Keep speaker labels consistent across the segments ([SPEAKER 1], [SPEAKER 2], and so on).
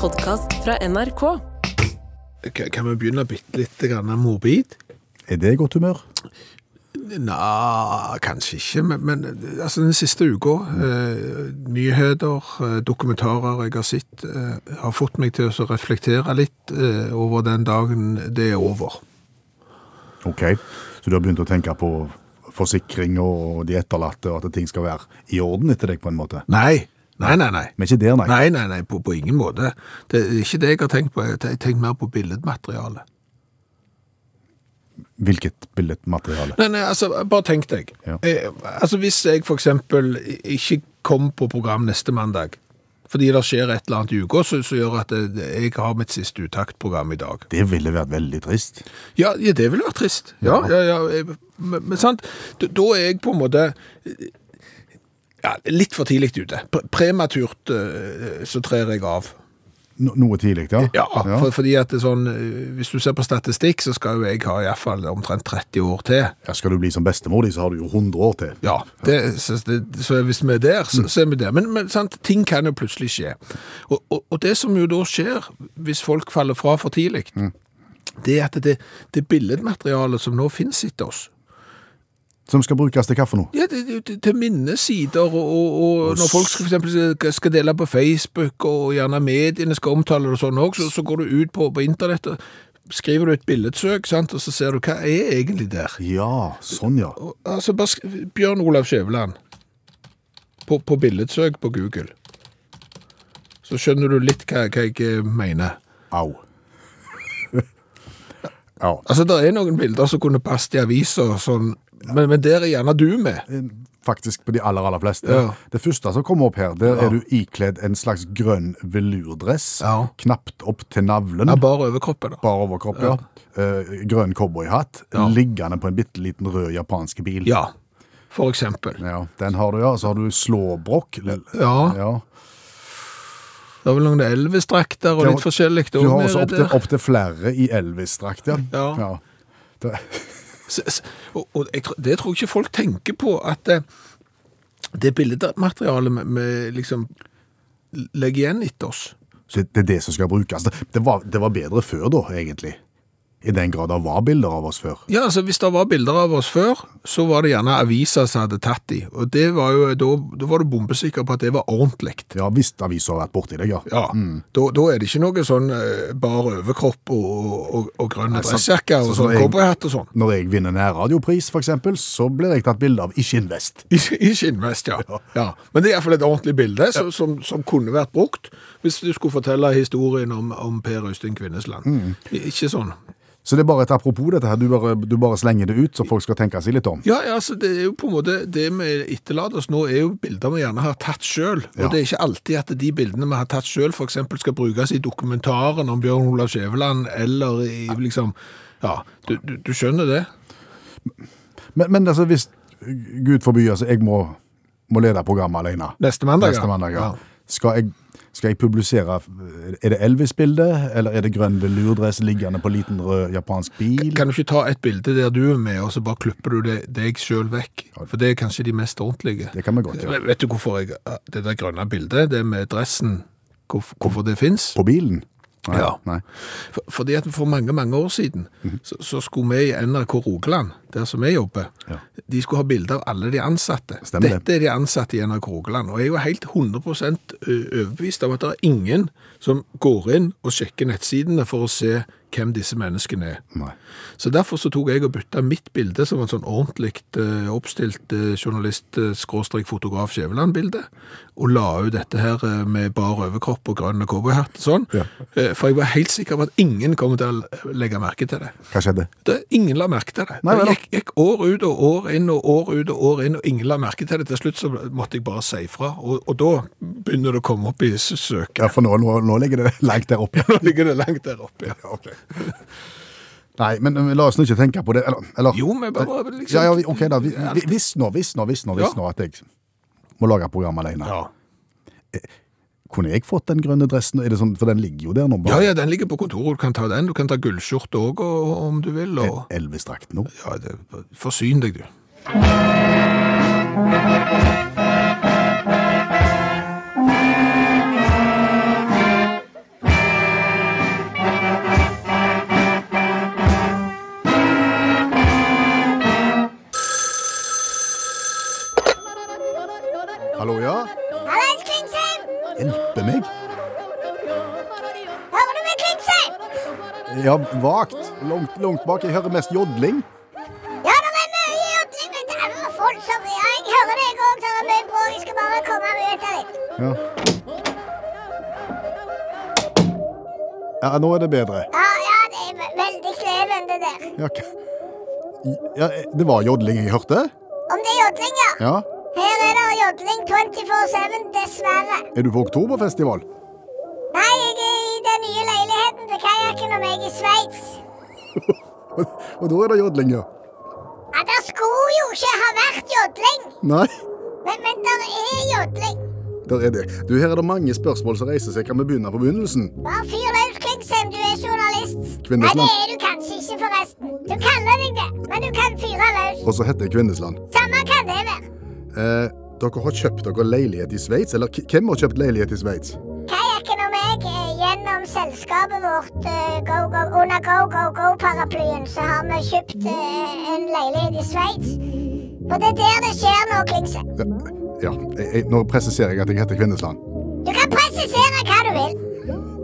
[SPEAKER 1] podkast fra NRK.
[SPEAKER 2] K- Kan vi begynne bitte litt grann morbid?
[SPEAKER 3] Er det godt humør?
[SPEAKER 2] Nja, kanskje ikke, men, men altså, den siste uka eh, Nyheter, eh, dokumentarer jeg har sett, eh, har fått meg til å reflektere litt eh, over den dagen det er over.
[SPEAKER 3] Ok, så du har begynt å tenke på forsikring og de etterlatte, og at ting skal være i orden etter deg på en måte.
[SPEAKER 2] Nei, nei, nei. nei.
[SPEAKER 3] Men ikke der, nei.
[SPEAKER 2] Nei, nei, nei, på, på ingen måte. Det er ikke det jeg har tenkt på. Jeg har tenkt mer på billedmaterialet.
[SPEAKER 3] Hvilket billedmateriale?
[SPEAKER 2] Nei, nei, altså, bare tenk deg.
[SPEAKER 3] Ja.
[SPEAKER 2] Eh, altså, hvis jeg for eksempel ikke kom på program neste mandag, fordi det skjer et eller annet i uka, så, så gjør at eh, jeg har mitt siste uttaktprogram i dag.
[SPEAKER 3] Det ville vært veldig trist.
[SPEAKER 2] Ja, ja det ville vært trist. Ja, ja, ja. eh, Men, men sant, da, da er jeg på en måte eh, ja, litt for tidlig ute. Pre- Prematurt eh, så trer jeg av.
[SPEAKER 3] No noe tidlig, ja.
[SPEAKER 2] Ja, For, fordi at det er sånn, eh, hvis du ser på statistikk, så skal jo jeg ha i hvert fall omtrent 30 år til.
[SPEAKER 3] Ja, skal du bli som bestemor di, så har du jo 100 år til.
[SPEAKER 2] Ja, det, så, det, så hvis vi er der, så, så er vi der. Men, men sant, ting kan jo plutselig skje. Og, og, og det som jo da skjer, hvis folk faller fra for tidlig, det er at det, det billedmaterialet som nå finnes etter oss,
[SPEAKER 3] Som skal brukes til kaffe nå.
[SPEAKER 2] ja, det, det, det- til minnesider, og, og, og når folk skal, for eksempel skal- skal dele på Facebook, og gjerne mediene skal omtale det og sånn også, så, så går du ut på, på internett og skriver du et billedsøk, sant, og så ser du hva er egentlig der.
[SPEAKER 3] Ja, sånn ja.
[SPEAKER 2] Og, Altså, bare sk- Bjørn Olav Skjæveland på, på billedsøk på Google. Så skjønner du litt hva, hva jeg eh, mener.
[SPEAKER 3] Au. ja.
[SPEAKER 2] Altså, Det er noen bilder som kunne passet i aviser, og sånn, men, men der er gjerne du med.
[SPEAKER 3] Faktisk på de aller, aller fleste.
[SPEAKER 2] Ja.
[SPEAKER 3] Det første som kommer opp her, der
[SPEAKER 2] Ja.
[SPEAKER 3] er du ikledd en slags grønn velurdress,
[SPEAKER 2] Ja.
[SPEAKER 3] knapt opp til navlen.
[SPEAKER 2] Ja, Bare overkroppen. da.
[SPEAKER 3] Bar overkropp, ja. Eh, grønn cowboyhatt,
[SPEAKER 2] Ja.
[SPEAKER 3] liggende på en bitte liten rød japansk bil.
[SPEAKER 2] Ja, for eksempel.
[SPEAKER 3] Ja, den har du, ja. Så har du slåbrok. l-
[SPEAKER 2] Ja. Det er vel noen Elvis-drakter og
[SPEAKER 3] Det
[SPEAKER 2] litt
[SPEAKER 3] var-
[SPEAKER 2] forskjellig. da,
[SPEAKER 3] Du har
[SPEAKER 2] med
[SPEAKER 3] også
[SPEAKER 2] det der.
[SPEAKER 3] opptil opp til flere i Elvis-drakt, ja.
[SPEAKER 2] Ja.
[SPEAKER 3] Det,
[SPEAKER 2] S- s- Og, og jeg, tror- det tror jeg ikke folk tenker på, at eh, det bildematerialet vi- vi liksom legger igjen etter oss
[SPEAKER 3] det, det er det som skal brukes. Det, det, var, det var bedre før, da, egentlig. I den grad det var bilder av oss før.
[SPEAKER 2] Ja, altså Hvis det var bilder av oss før, så var det gjerne aviser som hadde tatt de. Og det var jo, da, da var du bombesikker på at det var ordentlig.
[SPEAKER 3] Ja, Hvis avisa har vært borti deg, ja.
[SPEAKER 2] Ja,
[SPEAKER 3] Mm.
[SPEAKER 2] da, da er det ikke noe sånn eh, bar overkropp og, og, og grønne
[SPEAKER 3] så-
[SPEAKER 2] dressjakker og
[SPEAKER 3] så- så
[SPEAKER 2] sånn
[SPEAKER 3] jeg-
[SPEAKER 2] cowboyhatt og sånn.
[SPEAKER 3] Når jeg vinner nærradiopris, f.eks., så blir jeg tatt bilde av i skinnvest.
[SPEAKER 2] I, i skinnvest, ja. ja. Men det er iallfall et ordentlig bilde som, som, som kunne vært brukt hvis du skulle fortelle historien om, om Per Øystein Kvinnesland.
[SPEAKER 3] Mm.
[SPEAKER 2] I- Ikke sånn.
[SPEAKER 3] Så det er bare et apropos dette her. Du bare, du bare slenger det ut, så folk skal tenke seg litt om.
[SPEAKER 2] Ja, ja, altså det er jo på en måte Det vi etterlater oss nå, er jo bilder vi gjerne har tatt sjøl.
[SPEAKER 3] Ja.
[SPEAKER 2] Og det er ikke alltid at de bildene vi har tatt sjøl, f.eks. skal brukes i dokumentaren om Bjørn Olav Skjæveland, eller i liksom Ja, du, du, du skjønner det?
[SPEAKER 3] Men, men altså, hvis Gud forby, altså, jeg må, må lede programmet alene.
[SPEAKER 2] Neste mandag, ja.
[SPEAKER 3] Neste mandag, ja.
[SPEAKER 2] Ja.
[SPEAKER 3] Skal jeg, skal jeg publisere Er det Elvis-bildet, eller er det grønn velurdress liggende på liten rød japansk bil?
[SPEAKER 2] Kan du ikke ta et bilde der du er med, og så bare klipper du det, deg sjøl vekk? For det er kanskje de mest ordentlige.
[SPEAKER 3] Det kan vi godt gjøre.
[SPEAKER 2] Vet- Vet du hvorfor jeg, det der grønne bildet, det med dressen, hvorfor, hvorfor det fins?
[SPEAKER 3] På bilen? Nei,
[SPEAKER 2] Ja.
[SPEAKER 3] Nei.
[SPEAKER 2] For, fordi at for mange, mange år siden,
[SPEAKER 3] Mhm.
[SPEAKER 2] så, så skulle vi i NRK Rogaland, der som jeg jobber,
[SPEAKER 3] Ja.
[SPEAKER 2] de skulle ha bilder av alle de ansatte.
[SPEAKER 3] Stemmer det.
[SPEAKER 2] Dette er de ansatte i NRK Rogaland, og jeg er jo helt 100% overbevist om at det er ingen som går inn og sjekker nettsidene for å se hvem disse menneskene er.
[SPEAKER 3] Nei.
[SPEAKER 2] Så derfor så tok jeg og bytta mitt bilde, som var et sånn ordentlig eh, oppstilt eh, journalist-fotograf-Skjæveland-bilde, og la ut dette her eh, med bar overkropp og grønn cowboyhatt og sånn.
[SPEAKER 3] Ja.
[SPEAKER 2] Eh, For jeg var helt sikker på at ingen kom til å legge merke til det.
[SPEAKER 3] Hva skjedde?
[SPEAKER 2] det ingen la merke til det.
[SPEAKER 3] Nei, vel da.
[SPEAKER 2] det gikk, gikk år ut og år inn og år ut og år inn, og ingen la merke til det. Til slutt så måtte jeg bare si fra, og, og da begynner det å komme opp i s- søket.
[SPEAKER 3] Ja, for nå, nå, nå ligger det langt der oppe.
[SPEAKER 2] Nå ligger det langt der oppe. Ja.
[SPEAKER 3] Nei, men eh, la oss nå ikke tenke på det. Eller, eller
[SPEAKER 2] Jo, men bare liksom
[SPEAKER 3] Ja, ja, vi- ok da. Vi- vi- Hvis nå, hvis nå, hvis nå, hvis
[SPEAKER 2] Ja.
[SPEAKER 3] nå at jeg må lage program alene. Eh,
[SPEAKER 2] Ja.
[SPEAKER 3] Kunne jeg fått den grønne dressen? Er det sånn, for den ligger jo der nå.
[SPEAKER 2] Ja,
[SPEAKER 3] bare
[SPEAKER 2] ja, den ligger på kontoret. Du kan ta den. Du kan ta gullskjorte òg om du vil.
[SPEAKER 3] Eh,
[SPEAKER 2] Og,
[SPEAKER 3] Elvis-drakt nå.
[SPEAKER 2] ja, det, forsyn deg, du.
[SPEAKER 3] Hjelpe meg.
[SPEAKER 1] Hører du meg, Klingsheim?
[SPEAKER 3] Ja, vagt. Langt, langt bak. Jeg hører mest jodling.
[SPEAKER 1] Ja, det er mye jodling. men Det er noen folk som Ja, jeg hører deg òg. Det er mye bråk. Jeg skal bare komme meg ut av det.
[SPEAKER 3] Ja. ja, nå er det bedre.
[SPEAKER 1] Ja, ja, det er ve- veldig krevende, det der.
[SPEAKER 3] Ja, k- ja, eh, det var jodling jeg hørte.
[SPEAKER 1] Om det er jodling, ja.
[SPEAKER 3] Ja.
[SPEAKER 1] Her er det jodling 24-7, dessverre.
[SPEAKER 3] Er du på oktoberfestival?
[SPEAKER 1] Nei, jeg er i den nye leiligheten til kajakken og meg i Sveits.
[SPEAKER 3] Og da er det jodling, ja.
[SPEAKER 1] Ja, det skulle jo ikke ha vært jodling,
[SPEAKER 3] Nei.
[SPEAKER 1] men, men der er jodling.
[SPEAKER 3] Der er det. Du, Her er det mange spørsmål som reiser seg. Kan vi begynne på begynnelsen?
[SPEAKER 1] Bare fyr løs, Klingsheim, du er journalist.
[SPEAKER 3] Kvinnesland.
[SPEAKER 1] Nei, det er du kanskje ikke, forresten. Du kaller deg det, men du kan fyre løs.
[SPEAKER 3] Og så heter jeg Kvinnesland.
[SPEAKER 1] Samme kan det være.
[SPEAKER 3] Eh, dere har kjøpt dere leilighet i Sveits? Eller k- hvem har kjøpt leilighet i Sveits?
[SPEAKER 1] Kajakken og meg eh, gjennom selskapet vårt eh, go, go, under Go Go Go-paraplyen så har vi kjøpt eh, en leilighet i Sveits. Og det er der det skjer nå, Klingsheim.
[SPEAKER 3] Ja, ja jeg, jeg, nå presiserer jeg at jeg heter Kvinnesland.
[SPEAKER 1] Du kan presisere hva du vil.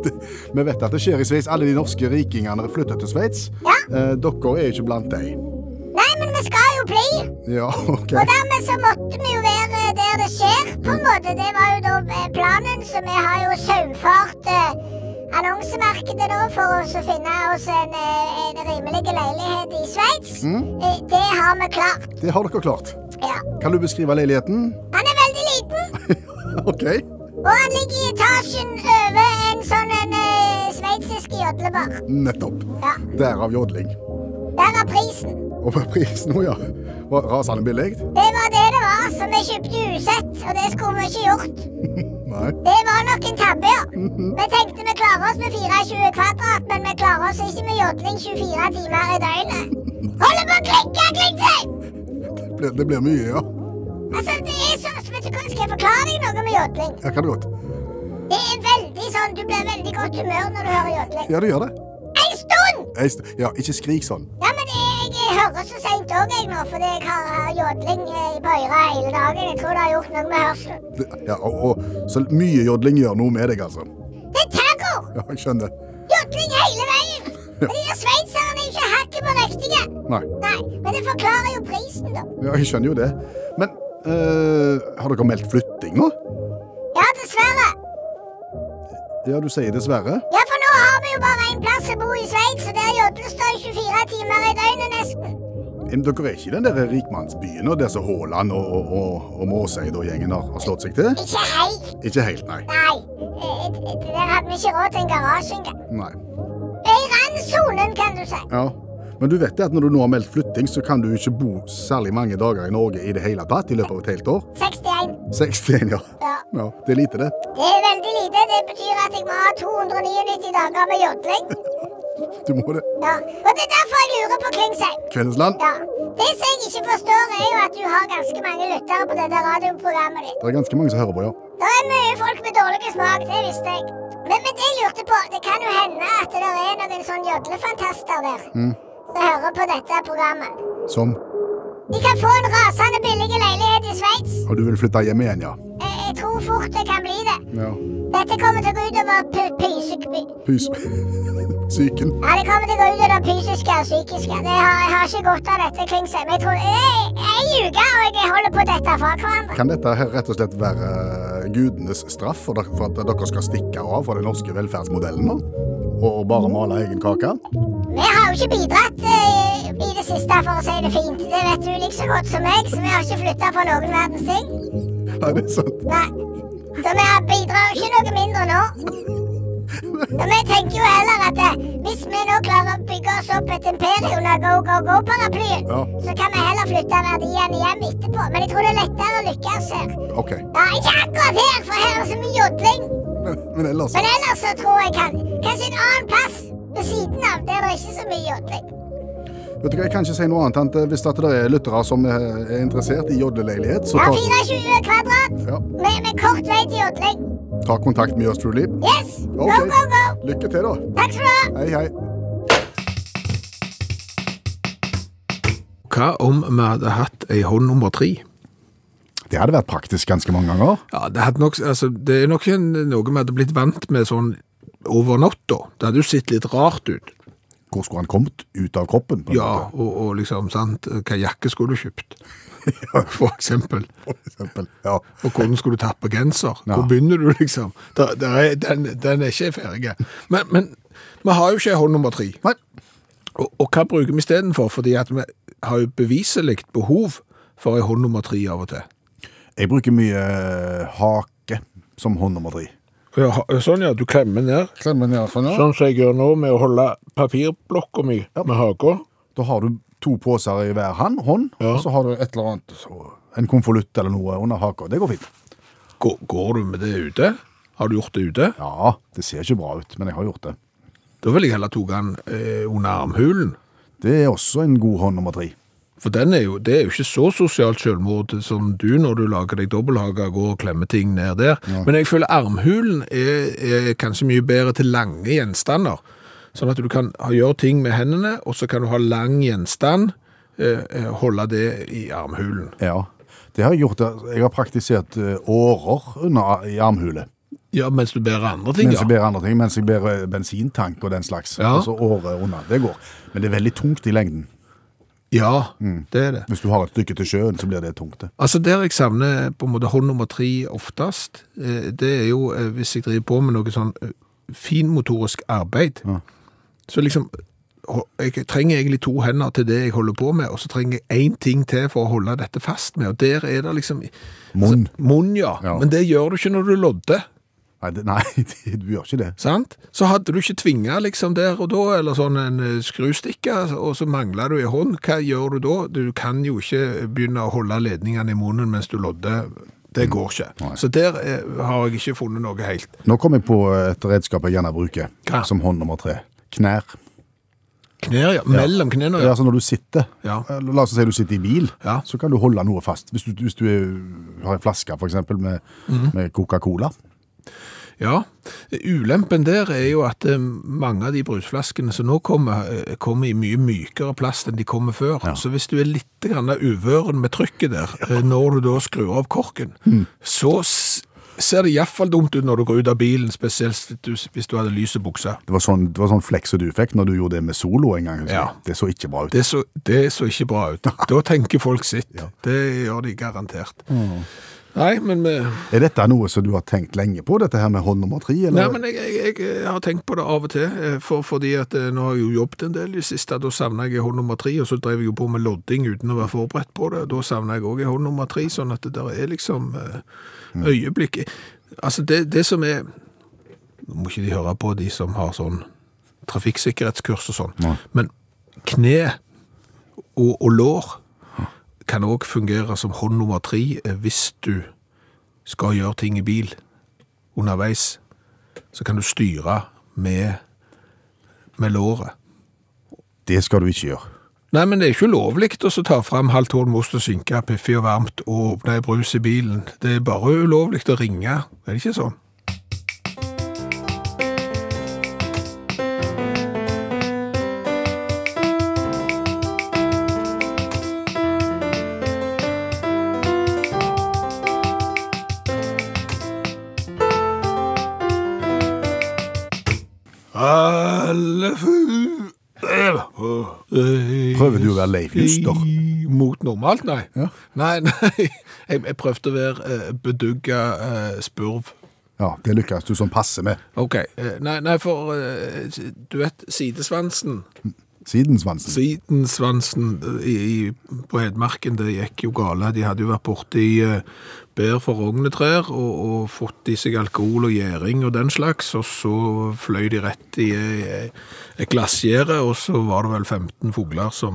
[SPEAKER 3] Det, vi vet at det skjer i Sveits. Alle de norske rikingene flytter til Sveits.
[SPEAKER 1] Ja.
[SPEAKER 3] Eh, dere er ikke blant dem.
[SPEAKER 1] Nei, men vi skal jo bli.
[SPEAKER 3] Ja, OK.
[SPEAKER 1] Og dermed så måtte vi jo være eh, der det skjer, på en måte. Det var jo da eh, planen, så vi har jo saumfart eh, annonsemarkedet nå for oss å finne oss en, eh, en rimelig leilighet i Sveits. Eh, Det har vi klart.
[SPEAKER 3] Det har dere klart.
[SPEAKER 1] Ja.
[SPEAKER 3] Kan du beskrive leiligheten?
[SPEAKER 1] Han er veldig liten,
[SPEAKER 3] OK.
[SPEAKER 1] og han ligger i etasjen over en sånn en eh, sveitsisk jodlebar.
[SPEAKER 3] Nettopp.
[SPEAKER 1] Ja,
[SPEAKER 3] Derav jodling.
[SPEAKER 1] der er prisen.
[SPEAKER 3] Og prisen nå, ja. Var rasende billig?
[SPEAKER 1] Det var det det var, så vi kjøpte usett, og det skulle vi ikke gjort.
[SPEAKER 3] Nei.
[SPEAKER 1] Det var nok en tabbe, ja. Vi tenkte vi klarer oss med 24 kvadrat, men vi klarer oss ikke med jodling 24 timer i døgnet. Holder på å klikke, Klingsheim!
[SPEAKER 3] Det blir, det blir mye, ja.
[SPEAKER 1] Altså, det er sånn, vet du hva, skal jeg forklare deg noe med jodling?
[SPEAKER 3] Ja, kan det godt.
[SPEAKER 1] Det er veldig sånn, du blir veldig godt humør når du hører jodling.
[SPEAKER 3] Ja, det gjør det.
[SPEAKER 1] En stund!
[SPEAKER 3] Jeg st- Ja, ikke skrik sånn.
[SPEAKER 1] Ja, men jeg, jeg hører så seint òg, jeg nå, fordi jeg har, har jodling eh, på øret hele dagen. Jeg tror det har gjort noe med hørselen.
[SPEAKER 3] Det- Ja, og, og så mye jodling gjør noe med deg, altså.
[SPEAKER 1] Det er terror!
[SPEAKER 3] Ja, jeg skjønner.
[SPEAKER 1] Jodling hele veien! Men de der sveitserne er jo ikke hakket på riktige.
[SPEAKER 3] Nei.
[SPEAKER 1] Nei, men det forklarer jo prisen, da.
[SPEAKER 3] Ja, jeg skjønner jo det. Men eh, har dere meldt flytting nå?
[SPEAKER 1] Ja, dessverre.
[SPEAKER 3] Ja, du sier dessverre.
[SPEAKER 1] Ja, for nå har vi jo bare én plass å bo i Sveits, og der jodles det 24 timer i døgnet nesten.
[SPEAKER 3] Men dere er ikke i den der rikmannsbyen og der som Haaland og, og, og, og Måseid og gjengen har, har slått seg til?
[SPEAKER 1] Ikke helt,
[SPEAKER 3] Ikke helt, nei.
[SPEAKER 1] nei. Eh, eh, Der hadde vi ikke råd til en garasje engang.
[SPEAKER 3] Nei.
[SPEAKER 1] I randsonen, kan du si.
[SPEAKER 3] Ja. Men du vet det at når du nå har meldt flytting, så kan du ikke bo særlig mange dager i Norge i det hele tatt i løpet av et helt år.
[SPEAKER 1] 61.
[SPEAKER 3] 61, ja.
[SPEAKER 1] Ja.
[SPEAKER 3] Ja, Det er lite, det.
[SPEAKER 1] Det er veldig lite. Det betyr at jeg må ha 299 dager med jodling.
[SPEAKER 3] Du må det.
[SPEAKER 1] Ja. Og det er derfor jeg lurer på Klingsheim.
[SPEAKER 3] Kveldsland.
[SPEAKER 1] Ja. Det som jeg ikke forstår, er jo at du har ganske mange lyttere på dette radioprogrammet ditt.
[SPEAKER 3] Det er ganske mange som hører på, ja.
[SPEAKER 1] Det er mye folk med dårlig smak, det visste jeg. Men, men det jeg lurte på, det kan jo hende at det er noen sånn jodlefantaster der som hører på dette programmet.
[SPEAKER 3] Som
[SPEAKER 1] De kan få en rasende billig leilighet i Sveits.
[SPEAKER 3] Og du vil flytte hjem igjen, ja.
[SPEAKER 1] Jeg, jeg tror fort det kan bli det.
[SPEAKER 3] Ja.
[SPEAKER 1] Dette kommer til å gå utover py- pysekby...
[SPEAKER 3] Pys. Psyken.
[SPEAKER 1] Ja, det kommer til å gå ut av det fysiske og psykiske. Det har, jeg har ikke godt av dette, Klingsheim. Jeg tror jeg, jeg ljuger, og jeg holder på dette fra hverandre.
[SPEAKER 3] Kan dette her rett og slett være gudenes straff for, dere, for at dere skal stikke av fra den norske velferdsmodellen nå? Og bare male egen kake?
[SPEAKER 1] Vi har jo ikke bidratt eh, i det siste, for å si det fint. Det vet du like så godt som meg, så vi har ikke flytta fra noen verdens ting.
[SPEAKER 3] Ja, det er sant.
[SPEAKER 1] Nei. Så vi har- bidrar jo ikke noe mindre nå. Så vi tenker jo heller at eh, hvis vi nå klarer å bygge oss opp et imperium under Go Go Go-paraplyen,
[SPEAKER 3] Ja.
[SPEAKER 1] så kan vi heller flytte verdiene hjem etterpå. Men jeg tror det er lettere å lykkes her.
[SPEAKER 3] OK.
[SPEAKER 1] Ja, ikke akkurat her, for her er det så mye jodling.
[SPEAKER 3] Men, men ellers
[SPEAKER 1] Men ellers så tror jeg kan Kanskje en annen plass ved siden av der det er ikke så mye jodling.
[SPEAKER 3] Vet du hva, Jeg kan ikke si noe annet enn at eh, hvis at det er lyttere som eh, er interessert i jodleleilighet, så
[SPEAKER 1] Ja,
[SPEAKER 3] ta,
[SPEAKER 1] 24 kvadrat
[SPEAKER 3] ja,
[SPEAKER 1] med, med kort vei til jodling.
[SPEAKER 3] ta kontakt med Just Truly.
[SPEAKER 1] Yes! Go,
[SPEAKER 3] Ok.
[SPEAKER 1] go, go!
[SPEAKER 3] Lykke til, da.
[SPEAKER 1] Takk skal du ha.
[SPEAKER 3] Hei, hei.
[SPEAKER 2] Hva om vi hadde hatt ei hånd nummer tre?
[SPEAKER 3] Det hadde vært praktisk ganske mange ganger.
[SPEAKER 2] Ja, det, hadde nok, altså, det er nok en, noe vi hadde blitt vant med sånn over natta. Det hadde jo sett litt rart ut.
[SPEAKER 3] Hvor skulle han kommet ut av kroppen? på en
[SPEAKER 2] Ja, og, og liksom, sant, hva jakke skulle du kjøpt? For eksempel.
[SPEAKER 3] måte, for eksempel. Ja.
[SPEAKER 2] Og hvordan skulle du tappe genser?
[SPEAKER 3] Ja.
[SPEAKER 2] Hvor begynner du, liksom? Da, da er, den, den er ikke ferdig. Men, men vi har jo ikke hånd nummer tre.
[SPEAKER 3] Nei.
[SPEAKER 2] Og, og hva bruker vi istedenfor? Fordi at vi har jo beviselig behov for ei hånd nummer tre av og til.
[SPEAKER 3] Jeg bruker mye eh, hake som hånd nummer tre.
[SPEAKER 2] Ja, ha- sånn, ja. Du klemmer ned. Sånn som jeg gjør nå med å holde papirblokka mi med haka.
[SPEAKER 3] Da har du to poser i hver hand, hånd,
[SPEAKER 2] Ja.
[SPEAKER 3] og så har du et eller annet, så en konvolutt eller noe under haka. Det går fint.
[SPEAKER 2] Går, går du med det ute? Har du gjort det ute?
[SPEAKER 3] Ja, det ser ikke bra ut, men jeg har gjort det.
[SPEAKER 2] Da vil jeg heller tatt den eh, under armhulen.
[SPEAKER 3] Det er også en god hånd nummer tre.
[SPEAKER 2] For den er jo, det er jo ikke så sosialt selvmord som du når du lager deg dobbelthage, går og klemmer ting ned der. Men jeg føler armhulen er, er kanskje mye bedre til lange gjenstander. Sånn at du kan ha- gjøre ting med hendene, og så kan du ha lang gjenstand, eh, eh, holde det i armhulen.
[SPEAKER 3] Ja, det har jeg gjort. Jeg har praktisert eh, årer under, i armhule.
[SPEAKER 2] Ja, mens du bærer andre ting,
[SPEAKER 3] Mens
[SPEAKER 2] ja.
[SPEAKER 3] jeg ber andre ting, mens jeg ber eh, bensintank og den slags.
[SPEAKER 2] Ja.
[SPEAKER 3] Altså året under. Det går. Men det er veldig tungt i lengden.
[SPEAKER 2] Ja, det er det.
[SPEAKER 3] Hvis du har et stykke til sjøen, så blir det tungt. det.
[SPEAKER 2] Altså Der jeg savner på en måte hånd nummer tre oftest, eh, det er jo eh, hvis jeg driver på med noe sånn eh, finmotorisk arbeid.
[SPEAKER 3] Ja.
[SPEAKER 2] Så liksom ho- Jeg trenger egentlig to hender til det jeg holder på med, og så trenger jeg én ting til for å holde dette fast med, og der er det liksom
[SPEAKER 3] Munn.
[SPEAKER 2] Altså, munn, ja.
[SPEAKER 3] Ja.
[SPEAKER 2] Men det gjør du ikke når du lodder.
[SPEAKER 3] Nei, det, nei det, du gjør ikke det.
[SPEAKER 2] Sant? Så hadde du ikke tvinga liksom der og da, eller sånn en eh, skrustikker, og så mangla du ei hånd. Hva gjør du da? Du kan jo ikke begynne å holde ledningene i munnen mens du lodder. Det går ikke. Så der eh, har jeg ikke funnet noe helt.
[SPEAKER 3] Nå kom jeg på et redskap jeg gjerne bruker
[SPEAKER 2] Hva?
[SPEAKER 3] som hånd nummer tre. Knær.
[SPEAKER 2] Knær, ja. Mellom knærne,
[SPEAKER 3] Det er
[SPEAKER 2] ja.
[SPEAKER 3] altså når du sitter.
[SPEAKER 2] Ja.
[SPEAKER 3] Eller La oss si du sitter i bil,
[SPEAKER 2] Ja.
[SPEAKER 3] så kan du holde noe fast. Hvis du, hvis du er, har en flaske for eksempel med,
[SPEAKER 2] Mhm.
[SPEAKER 3] med Coca-Cola.
[SPEAKER 2] ja. Ulempen der er jo at eh, mange av de brusflaskene som nå kommer, eh, kommer i mye mykere plast enn de kommer før. Så hvis du er litt grann uvøren med trykket der, eh, når du da skrur av korken, så s- ser det iallfall dumt ut når du går ut av bilen, spesielt hvis du, hvis du hadde lyse bukser.
[SPEAKER 3] Det var sånn, det var sånn flekse du fikk når du gjorde det med Solo en gang. husker jeg.
[SPEAKER 2] Ja.
[SPEAKER 3] Det så ikke bra ut.
[SPEAKER 2] Det så, det så ikke bra ut. Da tenker folk sitt. Det gjør de garantert. Nei, men eh, vi...
[SPEAKER 3] Er dette noe som du har tenkt lenge på, dette her med hånd nummer tre? Eller?
[SPEAKER 2] Nei, men jeg, jeg, jeg har tenkt på det av og til, eh, for, fordi at eh, nå har jeg jo jobbet en del i det siste, da savnet jeg hånd nummer tre, og så drev jeg jo på med lodding uten å være forberedt på det, da savnet jeg også hånd nummer tre, sånn at det der er liksom eh,
[SPEAKER 3] Mm.
[SPEAKER 2] øyeblikk. Altså, det, det som er, nå må ikke de høre på de som har sånn trafikksikkerhetskurs og sånn,
[SPEAKER 3] Nei.
[SPEAKER 2] men kne og, og lår kan også fungere som hånd nummer tre eh, hvis du skal gjøre ting i bil underveis så kan du styre med, med låret.
[SPEAKER 3] Det skal du ikke gjøre.
[SPEAKER 2] Nei, men det er ikke ulovlig å så ta fram halv tårn most og skinke, piffi og varmt og åpne ei brus i bilen. Det er bare ulovlig å ringe, er det ikke sånn? Alle fu...
[SPEAKER 3] Prøver du å være Leif Juster?
[SPEAKER 2] Mot normalt, nei.
[SPEAKER 3] Ja.
[SPEAKER 2] Nei, nei. Jeg, jeg prøvde å være eh, bedugga eh, spurv.
[SPEAKER 3] Ja, det lykkes du som passer med.
[SPEAKER 2] Ok. Eh, nei, nei, for eh, du vet sidesvansen.
[SPEAKER 3] Sidensvansen.
[SPEAKER 2] Sidensvansen eh, i, i, på Hedmarken, det gikk jo gale. De hadde jo vært borti eh, bær fra rognetrær og, og fått i seg alkohol og gjæring og den slags, og så fløy de rett i eh, et glassgjerde, og så var det vel 15 fugler som,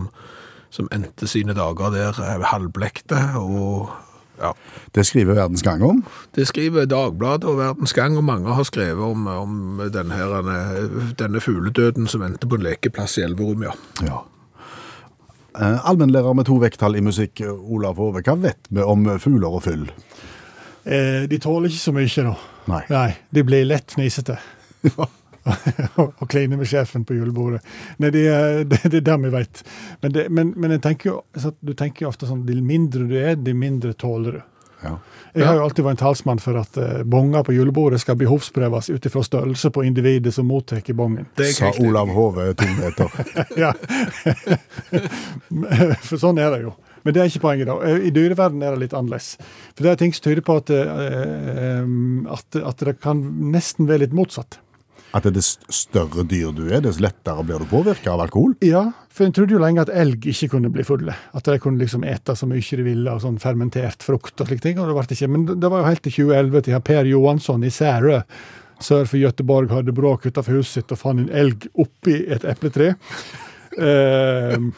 [SPEAKER 2] som endte sine dager der eh, halvblekte og ja.
[SPEAKER 3] Det skriver Verdens Gang om.
[SPEAKER 2] Det skriver Dagbladet og Verdens Gang, og mange har skrevet om, om denne, her, eh, denne fugledøden som endte på en lekeplass i Elverum, ja.
[SPEAKER 3] Ja. Eh, Allmennlærer med to vekttall i musikk, Olav Hove. Hva vet vi om fugler og fyll?
[SPEAKER 4] Eh, de tåler ikke så mye nå.
[SPEAKER 3] Nei.
[SPEAKER 4] Nei, De blir lett fnisete. og kline med sjefen på julebordet. Nei, det er, det, det er det vi vet. altså, Men, det, men, men jeg tenker jo, så at du tenker jo ofte sånn, de mindre du er, de mindre tåler du.
[SPEAKER 3] Ja.
[SPEAKER 4] Jeg har jo alltid vært en talsmann for at eh, bonger på julebordet skal behovsprøves ut ifra størrelse på individet som mottar bongen.
[SPEAKER 2] Det er jeg
[SPEAKER 3] Sa
[SPEAKER 2] helt enig i.
[SPEAKER 3] Olav Hove to meter.
[SPEAKER 4] ja. For sånn er det jo. Men det er ikke poenget, da. I dyreverden er det litt annerledes. For det er ting som tyder på at, eh, em, at, at det kan nesten være litt motsatt.
[SPEAKER 3] At det er dess større dyr du er, dess lettere blir du påvirka av alkohol.
[SPEAKER 4] Ja, for en trodde jo lenge at elg ikke kunne bli fulle. At de kunne liksom ete så mye de ville av sånn fermentert frukt og slike ting. og det ble ikke. Men det var jo helt til 2011 til Per Johansson i Særø sør for Gøteborg hadde bråk utenfor huset sitt og fant en elg oppi et epletre. Ehm,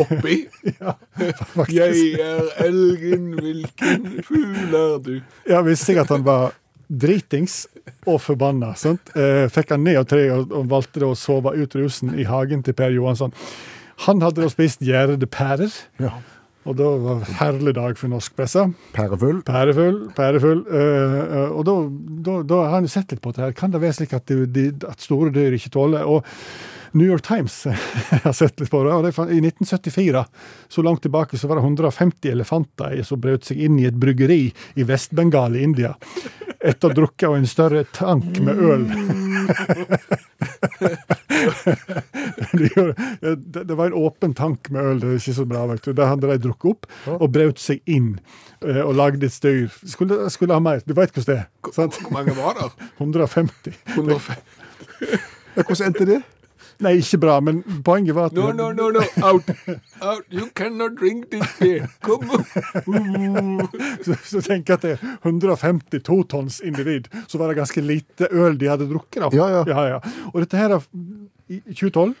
[SPEAKER 2] Oppi.
[SPEAKER 4] faktisk.
[SPEAKER 2] Jeg er elgen, hvilken fugl er du?
[SPEAKER 4] Ja, visste jeg at han var dritings og forbanna. Sant? Eh, fikk han ned av treet og, og valgte da å sove ut rusen i hagen til Per Johansson. Han hadde da spist gjærede pærer,
[SPEAKER 3] Ja.
[SPEAKER 4] og da var det en herlig dag for norsk presse.
[SPEAKER 3] Pærefull.
[SPEAKER 4] Pærefull, pærefull. eh, eh, og da, da, da har han jo sett litt på det her. Kan det være slik at, du- de, at store dyr ikke tåler Og New York Times har sett litt på det. og det fant- I 1974, så langt tilbake, så var det 150 elefanter i- som brøt seg inn i et bryggeri i Vest-Bengal i India etter å ha drukket av en større tank med øl. de gjorde, det, det var en åpen tank med øl, det er ikke så bra, vet du. Der hadde de drukket opp og brøt seg inn eh, og lagde et styr. Skulle, skulle ha mer, du vet hvordan det er.
[SPEAKER 2] Hvor-
[SPEAKER 4] Sant?
[SPEAKER 2] Hvor mange var der?
[SPEAKER 4] 150.
[SPEAKER 2] 105?
[SPEAKER 3] Ja, hvordan endte det?
[SPEAKER 4] Nei, ikke bra, men poenget var at
[SPEAKER 2] No, no, no, no, out. out. You cannot drink this beer. Kom
[SPEAKER 4] Så, så tenk at det er 150 totons individ, så var det ganske lite øl de hadde drukket. da.
[SPEAKER 3] Ja, ja.
[SPEAKER 4] Og dette her, er- i 2012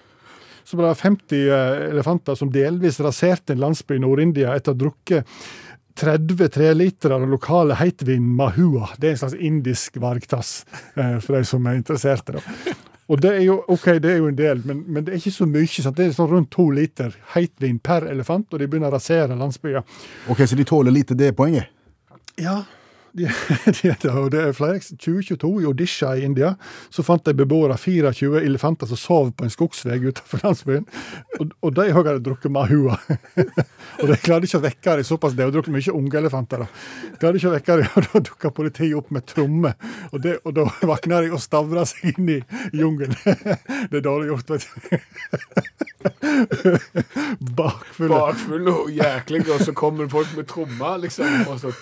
[SPEAKER 4] så var det 50 elefanter som delvis raserte en landsby i Nord-India etter å ha drukket 30 treliter av den lokale heitvinen mahua. Det er en slags indisk vargtass, eh, for de som er interesserte. da. Og det er jo ok, det er jo en del, men, men det er ikke så mye. Sant? Det er sånn rundt to liter heitvin per elefant, og de begynner å rasere landsbyer.
[SPEAKER 3] Ok, Så de tåler lite det poenget?
[SPEAKER 4] Ja, de, de er det, og det er flere. 2022 i Odisha i India så fant de beboere 24 elefanter som sov på en skogsvei utenfor landsbyen. Og, og de òg hadde drukket mahua. og de klarte ikke å vekke dem såpass. De har drukket mye unge elefanter. da. Klarte ikke å vekke dem, og da dukka politiet opp med tromme. Og, det, og da våkna de og stavra seg inn i jungelen. det er dårlig gjort, vet du. Bakfulle.
[SPEAKER 2] bakfull og jæklig, og så kommer folk med trommer, liksom. Og så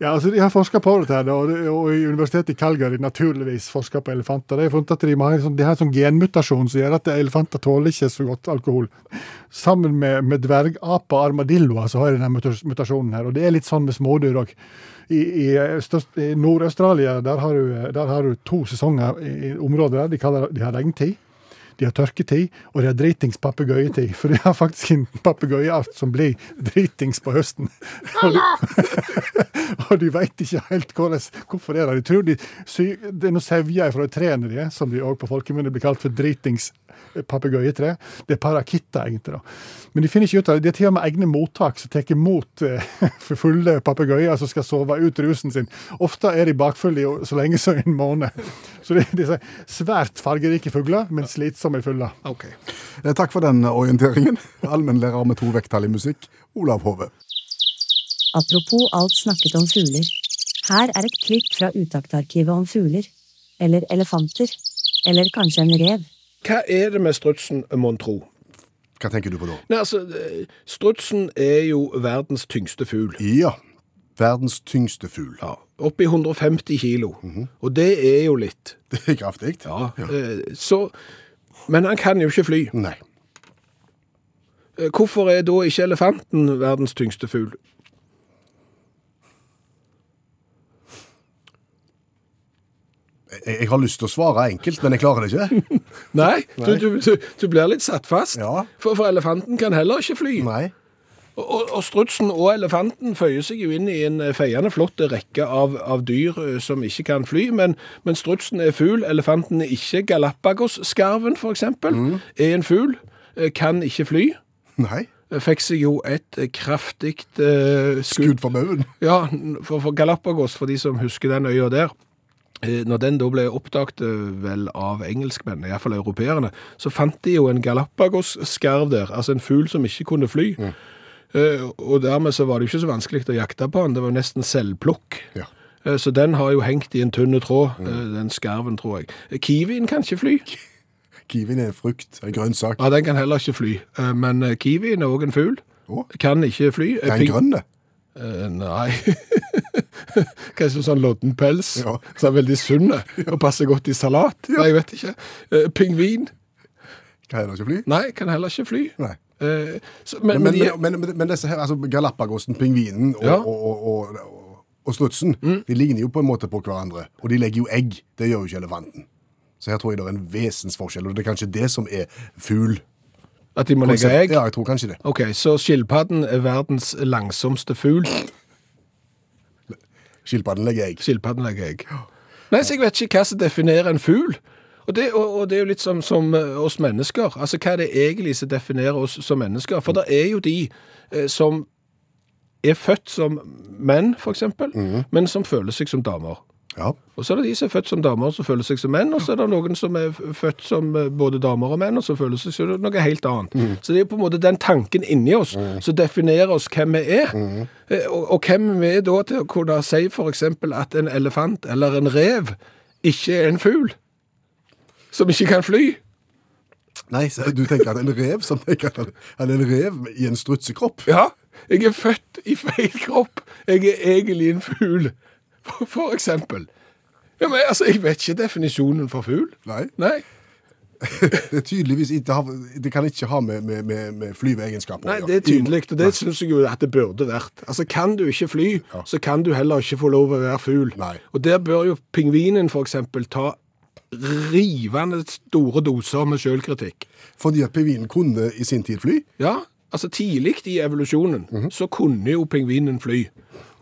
[SPEAKER 4] Ja, altså De har forska på dette, her, da, og, det, og i Universitetet i Calgary naturligvis forska på elefanter. De har funnet at de, må ha en sånn, de har en sånn genmutasjon som gjør at elefanter tåler ikke så godt alkohol. Sammen med, med dvergaper og armadilloer så har de denne mutas- mutasjonen her. Og det er litt sånn med smådyr òg. I, i, eh, størst- i Nord-Australia der har, du, eh, der har du to sesonger i i området der. De, kaller, de har regntid. De har tørketid, og de har dritings papegøyetid. For de har faktisk en papegøyeart som blir dritings på høsten. Og de, og de veit ikke helt hvordan, hvorfor det er det. De tror de sy, det er noen sevjer fra trærne de er, som de òg på folkemunne blir kalt for dritings papegøyetre. Det er parakitter, egentlig. da. Men de finner ikke ut av det. De har til og med egne mottak som tar imot eh, for fulle papegøyer som skal sove ut rusen sin. Ofte er de bakfulle i o- så lenge som en måned. Så det er disse svært fargerike fugler, men slitsomme fugler.
[SPEAKER 2] OK.
[SPEAKER 3] Eh, Takk for den orienteringen. Allmennlærer med to vekttall i musikk, Olav Hove.
[SPEAKER 5] Apropos alt snakket om fugler. Her er et klipp fra Utaktarkivet om fugler. Eller elefanter. Eller kanskje en rev.
[SPEAKER 6] Hva er det med strutsen, mon tro?
[SPEAKER 3] Hva tenker du på da?
[SPEAKER 6] Nei, altså, eh, strutsen er jo verdens tyngste fugl.
[SPEAKER 3] Ja, verdens tyngste fugl.
[SPEAKER 6] Ja, Oppi 150 kilo.
[SPEAKER 2] Mhm.
[SPEAKER 6] Og det er jo litt.
[SPEAKER 3] Det er kraftig. Ja.
[SPEAKER 6] Eh, Så, men han kan jo ikke fly.
[SPEAKER 3] Nei.
[SPEAKER 6] Eh, Hvorfor er da ikke elefanten verdens tyngste fugl?
[SPEAKER 3] Jeg, jeg har lyst til å svare enkelt, men jeg klarer det ikke.
[SPEAKER 6] Nei, Du, du, du, du blir litt satt fast.
[SPEAKER 3] Ja.
[SPEAKER 6] For, for elefanten kan heller ikke fly.
[SPEAKER 3] Nei.
[SPEAKER 6] Og, og- og strutsen og elefanten føyer seg jo inn i en eh, feiende flott rekke av, av dyr eh, som ikke kan fly, men, men strutsen er fugl, elefanten er ikke Galapagos-skarven for eksempel,
[SPEAKER 3] Mm.
[SPEAKER 6] er en fugl, eh, kan ikke fly,
[SPEAKER 3] Nei.
[SPEAKER 6] Eh, fikk seg jo et eh, kraftigt eh, skudd.
[SPEAKER 3] Skudd for baugen.
[SPEAKER 6] Ja, n- for, for Galapagos, for de som husker den øya der, eh, når den da ble oppdaget eh, vel av engelskmennene, iallfall
[SPEAKER 3] Mm.
[SPEAKER 6] europeerne, så fant de jo en Galapagos-skarv der, altså en fugl som ikke kunne fly. Eh, Og dermed så var det jo ikke så vanskelig å jakte på den. Det var jo nesten selvplukk.
[SPEAKER 3] Ja. Mm.
[SPEAKER 6] Eh, Så den har jo hengt i en tynne tråd, eh, den skarven, tror jeg. Eh, Kiwien kan ikke fly.
[SPEAKER 3] Kiwien er en frukt, en grønnsak.
[SPEAKER 6] Ja, Den kan heller ikke fly. Eh, Men eh, kiwien er òg en fugl.
[SPEAKER 3] Å.
[SPEAKER 6] Kan ikke fly. Eh,
[SPEAKER 3] Er
[SPEAKER 6] ping-
[SPEAKER 3] den grønn, det?
[SPEAKER 6] Eh, Nei. Kanskje sånn lodden pels,
[SPEAKER 3] Ja.
[SPEAKER 6] som er veldig sunne og passer godt i salat. Nei, jeg vet ikke. Eh, Pingvin.
[SPEAKER 3] Kan den ikke fly?
[SPEAKER 6] Nei, kan heller ikke fly.
[SPEAKER 3] Nei.
[SPEAKER 6] Eh, så, men, men,
[SPEAKER 3] Men,
[SPEAKER 6] de,
[SPEAKER 3] men, men, men, men disse her, altså Galapagosen, pingvinen og,
[SPEAKER 6] Ja. Mm.
[SPEAKER 3] og, og, og, og, og strutsen, de ligner jo på en måte på hverandre. Og de legger jo egg. Det gjør jo ikke elefanten. Så her tror jeg det er en vesensforskjell, og det er kanskje det som er fugl.
[SPEAKER 6] at de må legge egg?
[SPEAKER 3] Ja, jeg tror kanskje det.
[SPEAKER 6] Ok, så skilpadden er verdens langsomste fugl.
[SPEAKER 3] Skilpadden legger egg.
[SPEAKER 6] Skilpadden legger egg. Nei, så jeg vet ikke hva som definerer en fugl. Og det, og, og det er jo litt som, som eh, oss mennesker. Altså, hva er det egentlig som definerer oss som mennesker? For det er jo de eh, som er født som menn, for eksempel, men som føler seg som damer.
[SPEAKER 3] Ja.
[SPEAKER 6] Og så er det de som er født som damer, som føler seg som menn, og så er det noen som er f- født som eh, både damer og menn, og som føler seg som noe helt annet. Så det er jo på en måte den tanken inni oss som definerer oss hvem vi er. Eh, Og, og hvem vi er da til å kunne si for eksempel at en elefant eller en rev ikke er en fugl, som ikke kan fly.
[SPEAKER 3] Nei, så du tenker at en rev som tenker at han- han er en rev i en strutsekropp.
[SPEAKER 6] Ja, jeg er født i feil kropp. Jeg er egentlig en fugl, for, for eksempel. Ja, men altså, jeg vet ikke definisjonen for fugl.
[SPEAKER 3] Nei.
[SPEAKER 6] Nei.
[SPEAKER 3] Det er tydeligvis ikke, har- det kan ikke ha med, med, med, med flyveegenskaper å
[SPEAKER 6] Nei,
[SPEAKER 3] gjøre.
[SPEAKER 6] det er tydelig, og det syns jeg jo at det burde vært. Altså, Kan du ikke fly, så kan du heller ikke få lov å være fugl.
[SPEAKER 3] Nei.
[SPEAKER 6] Og der bør jo pingvinen f.eks. ta rivende store doser med sjølkritikk.
[SPEAKER 3] Fordi at pingvinen kunne i sin tid fly.
[SPEAKER 6] Ja, altså tidlig i evolusjonen så kunne jo pingvinen fly.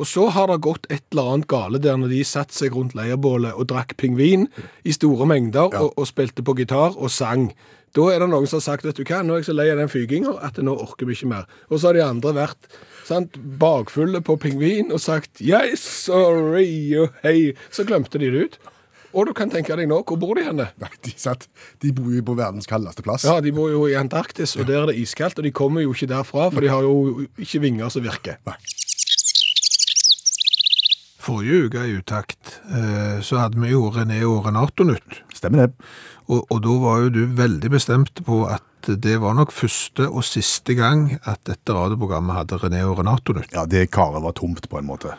[SPEAKER 6] Og så har det gått et eller annet gale der når de satt seg rundt leirbålet og drakk pingvin i store mengder og, og spilte på gitar og sang. Da er det noen som har sagt vet du hva, nå er jeg så lei av den fyginga at nå orker vi ikke mer. Og så har de andre vært sant, bakfulle på pingvin og sagt yes, sorry, og hei. Så glemte de det ut. Og du kan tenke deg nå, hvor bor de henne?
[SPEAKER 3] Nei, de, satt, de bor jo på verdens kaldeste plass.
[SPEAKER 6] Ja, de bor jo i Antarktis, og der er det iskaldt, og de kommer jo ikke derfra, for de har jo ikke vinger som virker.
[SPEAKER 3] Nei.
[SPEAKER 2] Forrige uke i utakt eh, så hadde vi jo René og Renato nytt.
[SPEAKER 3] Stemmer det.
[SPEAKER 2] Og, og da var jo du veldig bestemt på at det var nok første og siste gang at dette radioprogrammet hadde René og Renato nytt.
[SPEAKER 3] Ja, det karet var tomt på en måte.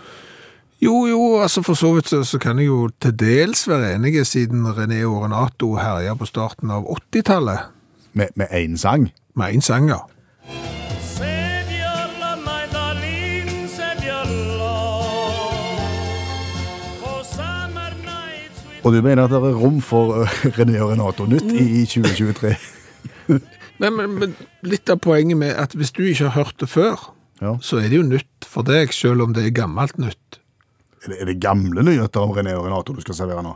[SPEAKER 2] Jo, jo, altså for så vidt så, så kan jeg jo til dels være enige siden René og Renato herja på starten av 80-tallet
[SPEAKER 3] Med én sang.
[SPEAKER 2] med én sang, ja.
[SPEAKER 7] Señala, Magdalene, señala. For summer nights we
[SPEAKER 3] Og du mener at det er rom for eh, René og Renato nytt i 2023?
[SPEAKER 2] Nei, men, men litt av poenget med at hvis du ikke har hørt det før,
[SPEAKER 3] Ja.
[SPEAKER 2] så er det jo nytt for deg, selv om det er gammelt nytt.
[SPEAKER 3] Er det, er det gamle nyheter om René og Renato du skal servere nå?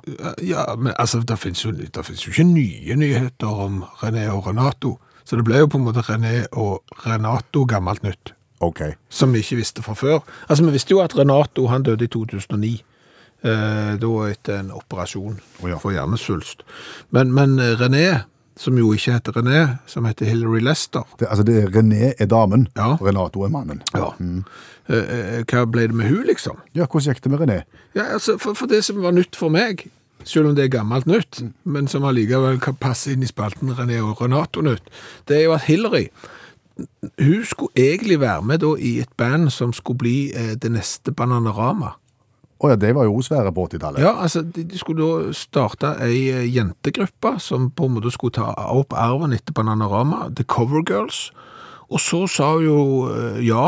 [SPEAKER 2] Ja, men altså, det finnes jo, det finnes jo ikke nye nyheter om René og Renato. Så det ble jo på en måte René og Renato gammelt nytt,
[SPEAKER 3] OK.
[SPEAKER 2] som vi ikke visste fra før. Altså, vi visste jo at Renato, han døde i 2009, eh, da etter en operasjon
[SPEAKER 3] Å ja.
[SPEAKER 2] for hjernesvulst. Men, men eh, René, som jo ikke heter René, som heter Hillary Lester,
[SPEAKER 3] Det, altså, det er René er damen,
[SPEAKER 2] Ja.
[SPEAKER 3] og Renato er mannen.
[SPEAKER 2] ja. Eh, eh, hva ble det med hun, liksom?
[SPEAKER 3] Ja, hvordan gikk det med René?
[SPEAKER 2] Ja, altså, for, for det som var nytt for meg, selv om det er gammelt nytt, men som allikevel kan passe inn i spalten René og Renato nytt, det er jo at Hillary, hun skulle egentlig være med da i et band som skulle bli eh, det neste Bananarama.
[SPEAKER 3] Å ja, de var jo svære på 80-tallet.
[SPEAKER 2] Ja, altså, de, de skulle da starte ei eh, jentegruppe som på en måte skulle ta opp arven etter Bananarama, The Cover Girls, og så sa hun jo eh, ja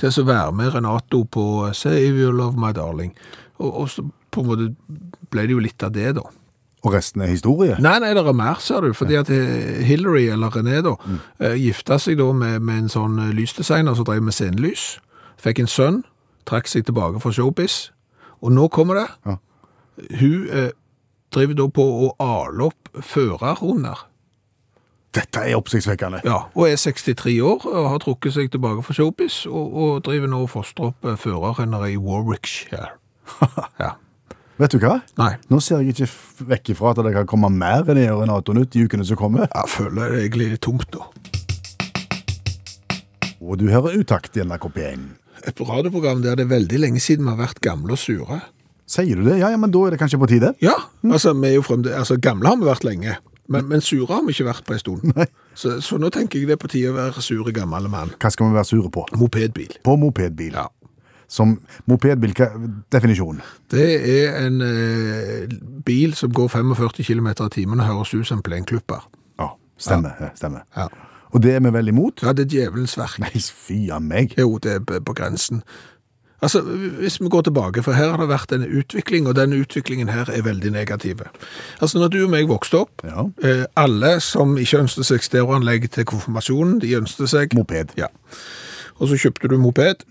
[SPEAKER 2] til å være med Renato på eh, Save You Love My Darling, og, og så på en måte ble det jo litt av det da.
[SPEAKER 3] Og resten er historie.
[SPEAKER 2] Nei, nei, det er mer, ser du, fordi at eh, Hillary, eller René da, eh, gifta seg da med, med en sånn eh, lysdesigner som drev med scenelys, fikk en sønn, trakk seg tilbake fra showbiz, og nå kommer det.
[SPEAKER 3] Ja.
[SPEAKER 2] Hun eh, driver da på å ale opp førerhunder.
[SPEAKER 3] Dette er oppsiktsvekkende.
[SPEAKER 2] Ja, og er 63 år, og har trukket seg tilbake fra showbiz, og, og driver nå og foster opp eh, førerhunder i Warwickshire. ja.
[SPEAKER 3] Vet du hva?
[SPEAKER 2] Nei.
[SPEAKER 3] Nå ser jeg ikke f- vekk ifra at det kan komme mer René og Renato nytt i ukene som kommer.
[SPEAKER 2] Jeg føler det egentlig er tomt da.
[SPEAKER 3] Og du hører utakt i NRK P1.
[SPEAKER 2] Et radioprogram der det er veldig lenge siden vi har vært gamle og sure.
[SPEAKER 3] Sier du det? Ja, ja, men da er det kanskje på tide.
[SPEAKER 2] Ja, altså, vi er jo fremde, altså gamle har vi vært lenge, men, men sure har vi ikke vært på en stund. Så, så nå tenker jeg det er på tide å være sure gammel mann.
[SPEAKER 3] Hva skal vi være sure på?
[SPEAKER 2] Mopedbil.
[SPEAKER 3] På mopedbil.
[SPEAKER 2] Ja.
[SPEAKER 3] Som mopedbil, hva definisjonen?
[SPEAKER 2] Det er en eh, bil som går 45 km i timen og høres ut som en plenklipper.
[SPEAKER 3] Ja, stemmer. Ja. stemmer.
[SPEAKER 2] Ja.
[SPEAKER 3] Og det er vi vel imot?
[SPEAKER 2] Ja, det er djevelens verk.
[SPEAKER 3] Nei, fy av meg.
[SPEAKER 2] Jo, det er b- på grensen. Altså, Hvis vi går tilbake, for her har det vært en utvikling, og den utviklingen her er veldig negativ. Altså, når du og meg vokste opp,
[SPEAKER 3] Ja.
[SPEAKER 2] eh, alle som ikke ønsket seg stereoanlegg til konfirmasjonen, de ønsket seg
[SPEAKER 3] Moped.
[SPEAKER 2] Ja. Og så kjøpte du moped,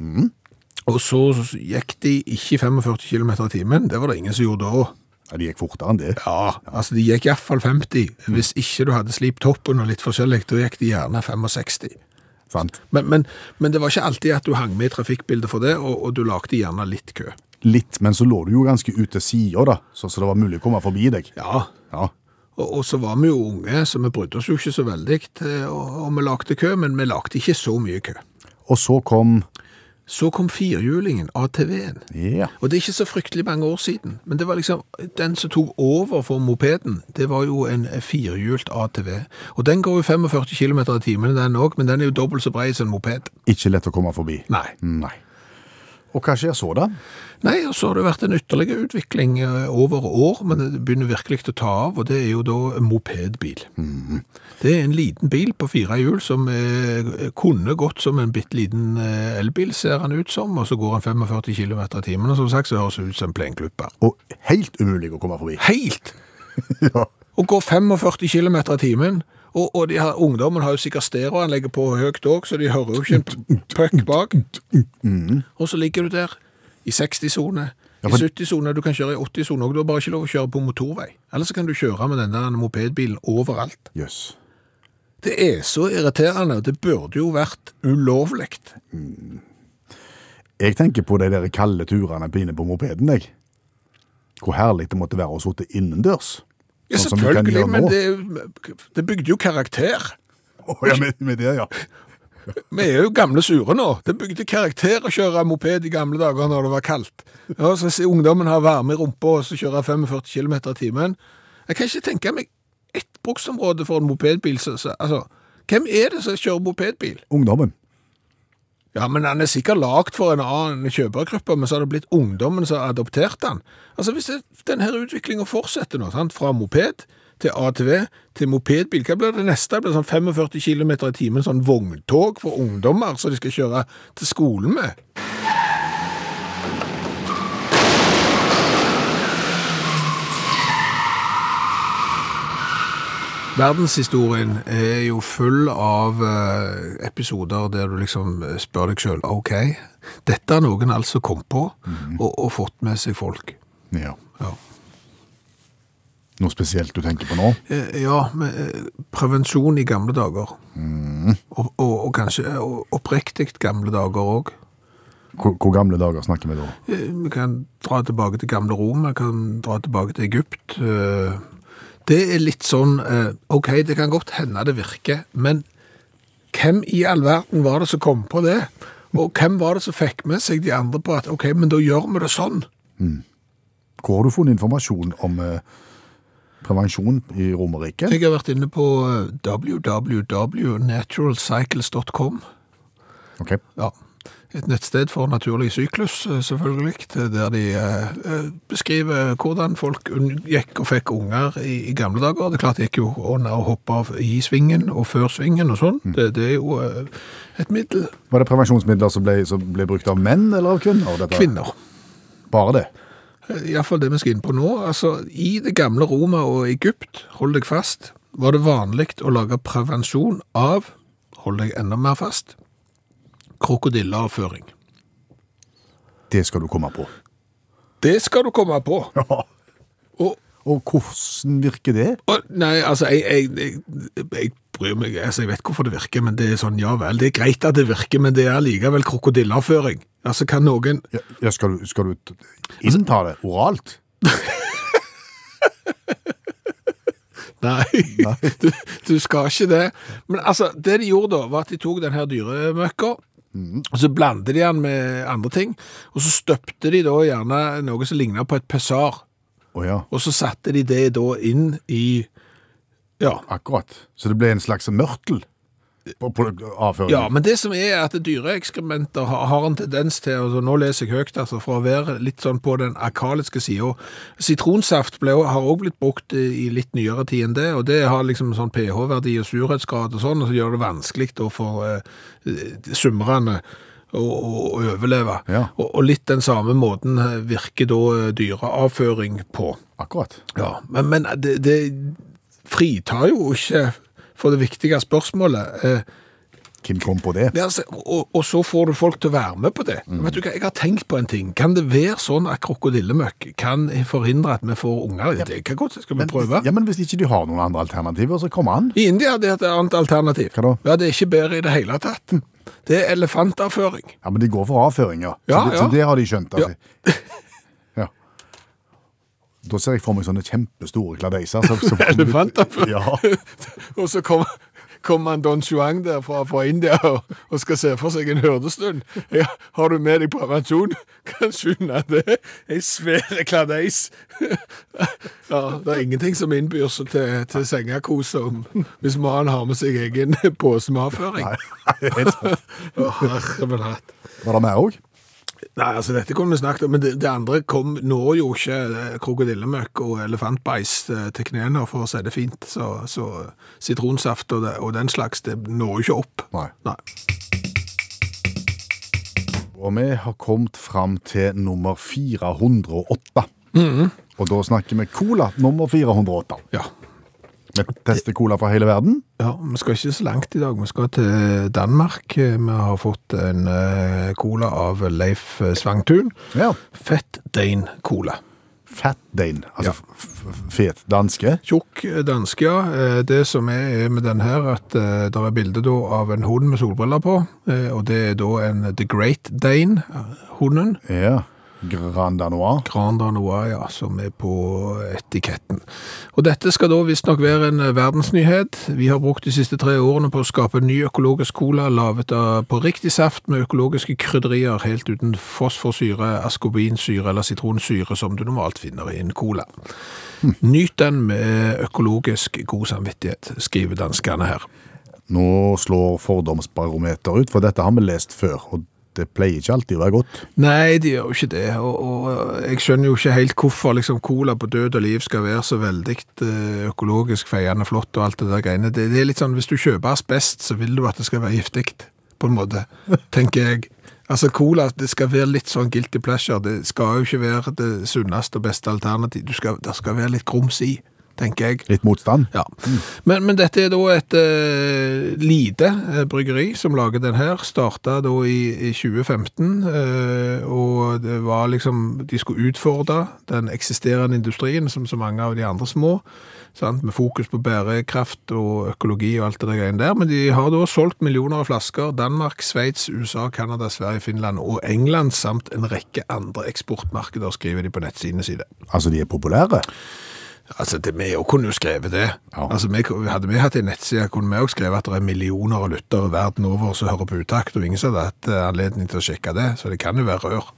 [SPEAKER 2] og så gikk de ikke 45 km i timen. Det var det ingen som gjorde da.
[SPEAKER 3] Ja, det gikk fortere enn det.
[SPEAKER 2] Ja, altså De gikk iallfall 50. Hvis ikke du hadde slipt toppen og litt forskjellig, da gikk de gjerne 65.
[SPEAKER 3] Sant?
[SPEAKER 2] Men, men, men det var ikke alltid at du hang med i trafikkbildet for det, og, og du lagde gjerne litt kø.
[SPEAKER 3] Litt, men så lå du jo ganske ut til sida, da, så, så det var mulig å komme forbi deg.
[SPEAKER 2] Ja,
[SPEAKER 3] Ja.
[SPEAKER 2] og, og så var vi jo unge, så vi brydde oss jo ikke så veldig eh, og- om vi lagde kø, men vi lagde ikke så mye kø.
[SPEAKER 3] Og så kom
[SPEAKER 2] Så kom firehjulingen, ATV-en.
[SPEAKER 3] Ja.
[SPEAKER 2] Og det er ikke så fryktelig mange år siden, men det var liksom den som tok over for mopeden, det var jo en firehjult ATV. Og den går jo 45 km i timen, den òg, men den er jo dobbelt så brei som en moped.
[SPEAKER 3] Ikke lett å komme forbi.
[SPEAKER 2] Nei.
[SPEAKER 3] Nei. Og hva skjer så, da?
[SPEAKER 2] Nei, og så har det vært en ytterligere utvikling eh, over år, men det begynner virkelig til å ta av, og det er jo da en mopedbil. Det er en liten bil på fire hjul som eh, kunne gått som en bitte liten eh, elbil, ser han ut som, og så går han 45 km i timen, og som sagt så høres det ut som en plenklipper.
[SPEAKER 3] Og helt umulig å komme forbi.
[SPEAKER 2] Helt!
[SPEAKER 3] Ja.
[SPEAKER 2] Å gå 45 km i timen, og, og de her, ungdommen har jo sikkert stereoanlegget på høyt òg, så de hører jo ikke en p- puck bak. Og så ligger du der i 60-sone, i
[SPEAKER 3] Mm. for-
[SPEAKER 2] 70-sone, du kan kjøre i 80-sone òg. Du har bare ikke lov å kjøre på motorvei. Ellers så kan du kjøre med den der mopedbilen overalt.
[SPEAKER 3] Jøss.
[SPEAKER 2] Det er så irriterende, og det burde jo vært ulovlig.
[SPEAKER 3] Jeg tenker på de der kalde turene på inne på mopeden, jeg. Hvor herlig det måtte være å sitte innendørs.
[SPEAKER 2] Ja,
[SPEAKER 3] Sånn som du kan
[SPEAKER 2] selvfølgelig,
[SPEAKER 3] gjøre
[SPEAKER 2] men
[SPEAKER 3] nå.
[SPEAKER 2] det, det bygde jo karakter.
[SPEAKER 3] Å, ja, med, med det, ja.
[SPEAKER 2] Vi er jo gamle sure nå. Det bygde karakter å kjøre moped i gamle dager når det var kaldt. Ja, så se, Ungdommen har varme i rumpa og så kjører 45 km i timen. Jeg kan ikke tenke meg ett bruksområde for en mopedbil. Så, så, altså, hvem er det som kjører mopedbil?
[SPEAKER 3] Ungdommen.
[SPEAKER 2] Ja, men Han er sikkert lagd for en annen kjøpergruppe, men så har det blitt ungdommen som har adoptert han. Altså, Hvis det, denne utviklinga fortsetter nå, sant? fra moped til ATV til mopedbil, hva blir det neste? Det blir sånn 45 km i timen, sånn vogntog for ungdommer som de skal kjøre til skolen med. Verdenshistorien er jo full av eh, episoder der du liksom spør deg sjøl OK, dette har noen altså kommet på og, og fått med seg folk.
[SPEAKER 3] Ja.
[SPEAKER 2] Ja,
[SPEAKER 3] Noe spesielt du tenker på nå?
[SPEAKER 2] eh, ja men, eh, prevensjon i gamle dager. Og, og, og kanskje eh, og oppriktig gamle dager òg.
[SPEAKER 3] Hvor, hvor gamle dager snakker vi da?
[SPEAKER 2] Vi kan dra tilbake til gamle Rom, vi kan dra tilbake til Egypt. Eh, Det er litt sånn eh, OK, det kan godt hende det virker, men hvem i all verden var det som kom på det? Og hvem var det som fikk med seg de andre på at OK, men da gjør vi det sånn?
[SPEAKER 3] Hvor har du funnet informasjon om eh, prevensjon i Romerriket?
[SPEAKER 2] Jeg har vært inne på eh, www.naturalcycles.com.
[SPEAKER 3] Ok.
[SPEAKER 2] Ja. Et nettsted for naturlig syklus, eh, selvfølgelig, der de eh, eh, beskriver hvordan folk unngikk og fikk unger i, i gamle dager. Det er klart det gikk jo under å hoppe av i svingen og før svingen og sånn. Det, det er jo eh, et middel.
[SPEAKER 3] Var det prevensjonsmidler som ble, som ble brukt av menn eller av kvinner? Dette?
[SPEAKER 2] Kvinner. Eh,
[SPEAKER 3] Bare det?
[SPEAKER 2] Iallfall det vi skal inn på nå. Altså, I det gamle Roma og Egypt, hold deg fast, var det vanlig å lage prevensjon av, hold deg enda mer fast, krokodilleavføring.
[SPEAKER 3] Det skal du komme på.
[SPEAKER 2] Det skal du komme på! Og,
[SPEAKER 3] Og hvordan virker det?
[SPEAKER 2] Å, Nei, altså, jeg, jeg, jeg, jeg bryr meg altså, Jeg vet hvorfor det virker, men det er sånn, ja vel. Det er greit at det virker, men det er likevel krokodilleavføring. Altså, kan noen
[SPEAKER 3] Ja, ja, skal, du, skal du t- innta det oralt?
[SPEAKER 2] Nei, du, du skal ikke det. Men altså, det de gjorde da, var at de tok den her dyremøkka, og så blandet de den med andre ting, og så støpte de da gjerne noe som lignet på et pessar,
[SPEAKER 3] Å ja,
[SPEAKER 2] og så satte de det da inn i, ja,
[SPEAKER 3] akkurat. Så det ble en slags mørtel på, på avføringen?
[SPEAKER 2] Ja, men det som er at dyreekskrementer har, har en tendens til, altså nå leser jeg høyt, altså for å være litt sånn på den akaliske siden, sitronsaft ble, jo- har også blitt brukt i litt nyere tid enn det, og det har liksom sånn pH-verdi og surhetsgrad og sånn, og så gjør det vanskelig da for eh, sumrene å, å, å overleve.
[SPEAKER 3] Ja.
[SPEAKER 2] Og, og litt den samme måten eh, virker da eh, dyreavføring på.
[SPEAKER 3] Akkurat.
[SPEAKER 2] Ja, men, men det, det fritar jo ikke for det viktige spørsmålet, eh,
[SPEAKER 3] Hvem kom på det?
[SPEAKER 2] ja, altså, og, og så får du folk til å være med på det.
[SPEAKER 3] Mm.
[SPEAKER 2] Vet du hva, Jeg har tenkt på en ting. Kan det være sånn at krokodillemøkk kan forhindre at vi får unger? Det kan godt, skal vi prøve?
[SPEAKER 3] Ja, men Hvis ikke de har noen andre alternativer, så kom an.
[SPEAKER 2] I India hadde jeg et annet alternativ.
[SPEAKER 3] Hva da?
[SPEAKER 2] Ja, Det er ikke bedre i det hele tatt. Det er elefantavføring.
[SPEAKER 3] Ja, Men de går for avføring, ja. Så,
[SPEAKER 2] Ja,
[SPEAKER 3] det, så
[SPEAKER 2] ja.
[SPEAKER 3] det har de skjønt. Altså. Ja. Da ser jeg for meg sånne kjempestore kladeiser. som- som-
[SPEAKER 2] Elefantavføring.
[SPEAKER 3] Ja.
[SPEAKER 2] Og så kommer kom han Don Juan der fra, fra India og, og skal se for seg en hørnestund. Ja, har du med deg prevensjon? Kan skjønne det. En svær kladeis. Ja, det er ingenting som innbyr seg til, til sengekos om hvis mannen har med seg egen pose med avføring.
[SPEAKER 3] Helt sant.
[SPEAKER 2] Å, herre min hatt.
[SPEAKER 3] Var det mer òg?
[SPEAKER 2] Nei, altså dette kunne vi snakket om, men det, det andre kom, når jo ikke eh, krokodillemøkk og elefantbeis eh, til knene for å si det fint, så, så sitronsaft og, det, og den slags, det når jo ikke opp.
[SPEAKER 3] Nei.
[SPEAKER 2] Nei.
[SPEAKER 3] Og vi har kommet fram til nummer 408.
[SPEAKER 2] Mhm.
[SPEAKER 3] Og da snakker vi cola nummer 408.
[SPEAKER 2] Ja.
[SPEAKER 3] Vi tester cola fra hele verden.
[SPEAKER 2] ja, vi skal ikke så langt i dag, vi skal til Danmark. Eh, Vi har fått en eh, cola av Leif eh, Svangtun.
[SPEAKER 3] Ja.
[SPEAKER 2] Fett Dane Cola.
[SPEAKER 3] Fat Dane, altså f- f- fet danske.
[SPEAKER 2] Tjokk danske, ja. Eh, Det som er er med den her, at eh, det er bilde da av en hund med solbriller på, eh, og det er da en The Great Dane, eh, hunden.
[SPEAKER 3] Ja. Grand Danois.
[SPEAKER 2] Gran Danois, ja, som er på etiketten. Og dette skal da visstnok være en eh, verdensnyhet. Vi har brukt de siste tre årene på å skape ny økologisk cola, laget av på riktig saft med økologiske krydderier, helt uten fosforsyre, askobinsyre eller sitronsyre, som du normalt finner i en cola. Nyt den med økologisk god samvittighet, skriver danskene her.
[SPEAKER 3] Nå slår fordomsbarometer ut, for dette har vi lest før. Og det pleier ikke alltid å være godt.
[SPEAKER 2] Nei, de gjør jo ikke det, og, og jeg skjønner jo ikke helt hvorfor liksom, cola på død og liv skal være så veldig eh, økologisk feiende flott og alt det der greiene. Det, det er litt sånn, hvis du kjøper asbest, så vil du at det skal være giftig, på en måte, tenker jeg. Altså, cola, det skal være litt sånn guilty pleasure, det skal jo ikke være det sunneste og beste alternativ. Du skal, det skal være litt grums i, tenker jeg.
[SPEAKER 3] Litt motstand.
[SPEAKER 2] Ja. Men, men dette er da et eh, lite eh, bryggeri som lager den her. Starta da i, i 2015, eh, og det var liksom De skulle utfordre den eksisterende industrien, som så mange av de andre små. Sant? Med fokus på bærekraft og økologi og alt det der greiene der. Men de har da solgt millioner av flasker. Danmark, Sveits, USA, Canada, Sverige, Finland og England samt en rekke andre eksportmarkeder, skriver de på nettsidene sine.
[SPEAKER 3] Altså, de er populære.
[SPEAKER 2] Altså, det, vi jo kunne jo skrevet det.
[SPEAKER 3] Ja.
[SPEAKER 2] Altså, vi, hadde vi hatt en nettside, kunne vi også skrevet at det er millioner av lyttere verden over som hører på utakt, og ingen som hadde hatt eh, anledning til å sjekke det, så det kan jo være rør.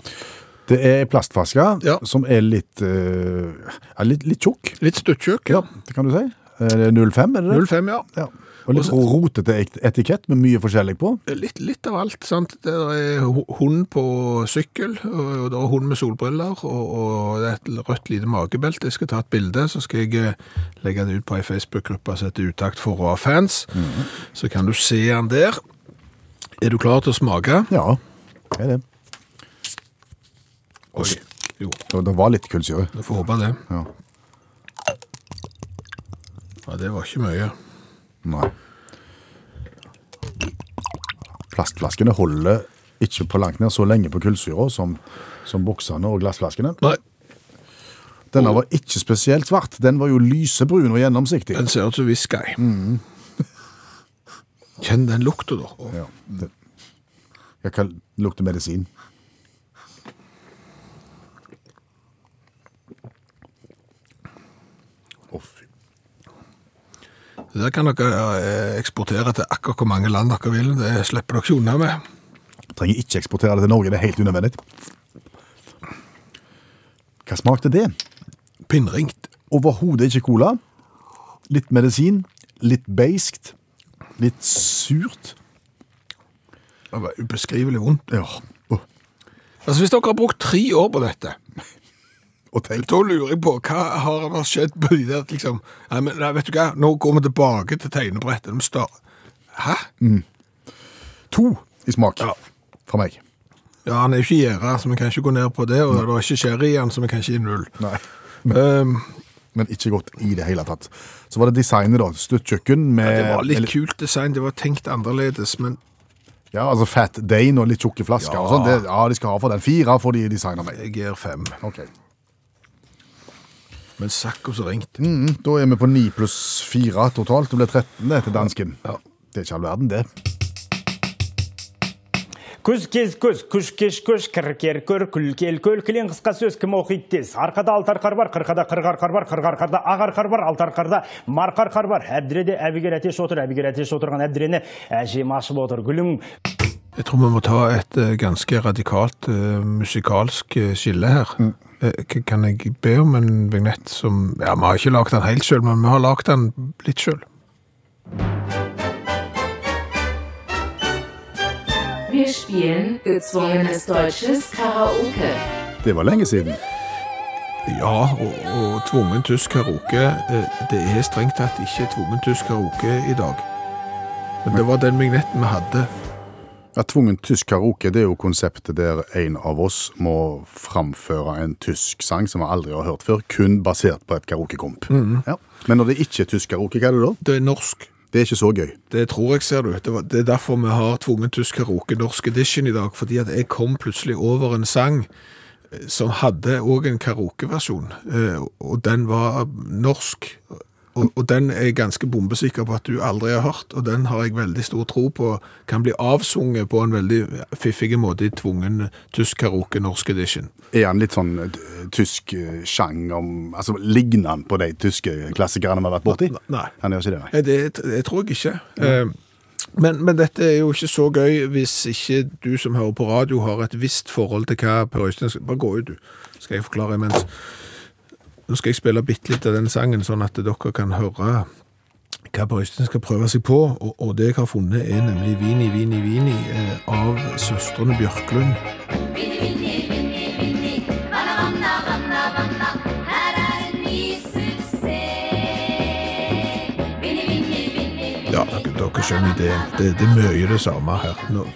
[SPEAKER 3] Det er plastflaske
[SPEAKER 2] Ja.
[SPEAKER 3] som er litt, eh, er litt, litt tjukk,
[SPEAKER 2] Litt stuttjukk.
[SPEAKER 3] det kan du si. Eh, det er 05, er det det?
[SPEAKER 2] 05, ja.
[SPEAKER 3] Ja. Og litt rotete et- etikett med mye forskjellig på.
[SPEAKER 2] Litt, litt av alt, sant? Det er ho- hund på sykkel, og og det er hund med solbriller, og, og det er et rødt lite magebelte. Jeg skal ta et bilde, så skal jeg eh, legge det ut på ei Facebook-gruppe som heter Utakt for å ha fans. Så kan du se den der. Er du klar til å smake?
[SPEAKER 3] Ja, det er det.
[SPEAKER 2] Oi. Jo.
[SPEAKER 3] Det, det var litt kullsyre.
[SPEAKER 2] Du får håpe det.
[SPEAKER 3] Ja.
[SPEAKER 2] Ja, det var ikke mye.
[SPEAKER 3] Nei. Plastflaskene holder ikke på langt ned så lenge på kullsyra som, som boksene og glassflaskene.
[SPEAKER 2] Nei,
[SPEAKER 3] Denne var ikke spesielt svart. Den var jo lysebrun og gjennomsiktig.
[SPEAKER 2] den ser ut som whisky. Mm. Kjenn den lukta, da. Å,
[SPEAKER 3] Ja, det, jeg kan lukte medisin. Å, fy.
[SPEAKER 2] Der kan dere eh, eksportere til akkurat hvor mange land dere vil. Det slipper dere ikke unna med.
[SPEAKER 3] Trenger ikke eksportere det til Norge, det er helt unødvendig. Hva smakte det?
[SPEAKER 2] Pinnringt.
[SPEAKER 3] Overhodet ikke cola. Litt medisin, litt beiskt, litt surt.
[SPEAKER 2] Det var ubeskrivelig vondt.
[SPEAKER 3] Ja, Åh,
[SPEAKER 2] Altså, Hvis dere har brukt tre år på dette,
[SPEAKER 3] og tenk.
[SPEAKER 2] da lurer jeg på hva har det skjedd på de der liksom Nei, men nei, vet du hva, nå går vi tilbake til tegnebrettet. De står Hæ?
[SPEAKER 3] To i smak fra meg.
[SPEAKER 2] Ja, han er jo ikke gjerda, så vi kan ikke gå ned på det. Og det er ikke sherry i han, så vi kan ikke gi null.
[SPEAKER 3] Nei.
[SPEAKER 2] Um,
[SPEAKER 3] Men ikke godt i det hele tatt. Så var det designet, da. Støtt kjøkken med
[SPEAKER 2] det var litt
[SPEAKER 3] med litt-
[SPEAKER 2] kult design. Det var tenkt annerledes, men
[SPEAKER 3] Ja, altså Fat Dane og litt tjukke flasker og sånn. Det- Ja, de skal ha for den. Fire får de designa meg.
[SPEAKER 2] jeg gir fem.
[SPEAKER 3] Ok.
[SPEAKER 2] Men sakko så ringt.
[SPEAKER 3] Mm, da er vi på 9 pluss 4 totalt. Det blir 13 det, til dansken. Det er ikke all verden, det.
[SPEAKER 8] Күз-кез көз күш кеш көш кір кер көр күл кел көл кілең қысқа сөз кім оқиды тез арқада алты арқар бар қырқада қырғар қар бар қырғар қарда ақ арқар бар алты арқарда марқар қар бар әбдіреде әбігер әтеш отыр әбігер әтеш отырған әбдірені әжем ашып отыр гүлім
[SPEAKER 2] Jeg tror vi må ta et eh, ganske radikalt eh, musikalsk eh, skille her. Eh, k- kan jeg be om en vignett som Ja, vi har ikke lagd den helt sjøl, men vi har lagd den litt sjøl.
[SPEAKER 9] Wir spielen gezwungenes deutsches Karaoke.
[SPEAKER 3] Det var lenge siden.
[SPEAKER 2] Ja, og, og tvungen tysk karaoke eh, Det er strengt tatt ikke tvungen tysk karaoke i dag. Men det var den vignetten vi hadde.
[SPEAKER 3] Ja, tvungen tysk karaoke det er jo konseptet der en av oss må framføre en tysk sang som vi aldri har hørt før, kun basert på et karaokekomp.
[SPEAKER 2] Mhm.
[SPEAKER 3] ja. Men når det ikke er tysk karaoke, hva er det da?
[SPEAKER 2] Det er norsk.
[SPEAKER 3] Det er ikke så gøy.
[SPEAKER 2] Det tror jeg, ser du. Det, var, det er derfor vi har tvungen tysk karaoke norsk edition i dag, fordi at jeg kom plutselig over en sang eh, som hadde òg en karaokeversjon, eh, og den var norsk. Og, og den er jeg ganske bombesikker på at du aldri har hørt, og den har jeg veldig stor tro på kan bli avsunget på en veldig fiffig måte i tvungen tysk karaoke norsk edition.
[SPEAKER 3] Er han litt sånn eh, tysk eh, sjanger altså, Ligner han på de tyske klassikerne vi har vært borti?
[SPEAKER 2] Nei.
[SPEAKER 3] Han gjør ikke det, nei.
[SPEAKER 2] Nei, Eh, det, det tror jeg ikke. Eh, Men, men dette er jo ikke så gøy hvis ikke du som hører på radio har et visst forhold til hva Per Øystein skal Bare gå ut, du. Skal jeg forklare imens. Nå skal jeg spille bitte litt av den sangen, sånn at dere kan høre hva Per Øystein skal prøve seg på. Og, og det jeg har funnet, er nemlig Vini, Vini, Vini eh, av søstrene Bjørklund.
[SPEAKER 10] Vinni, vinni, vinni, vinni. Vanna, vanna, vanna, vanna. Her er en ny suksess. Vinni, vinni, vinni, vinni.
[SPEAKER 2] Ja, dere, dere skjønner ideen. Det, det er mye det samme her. Nå.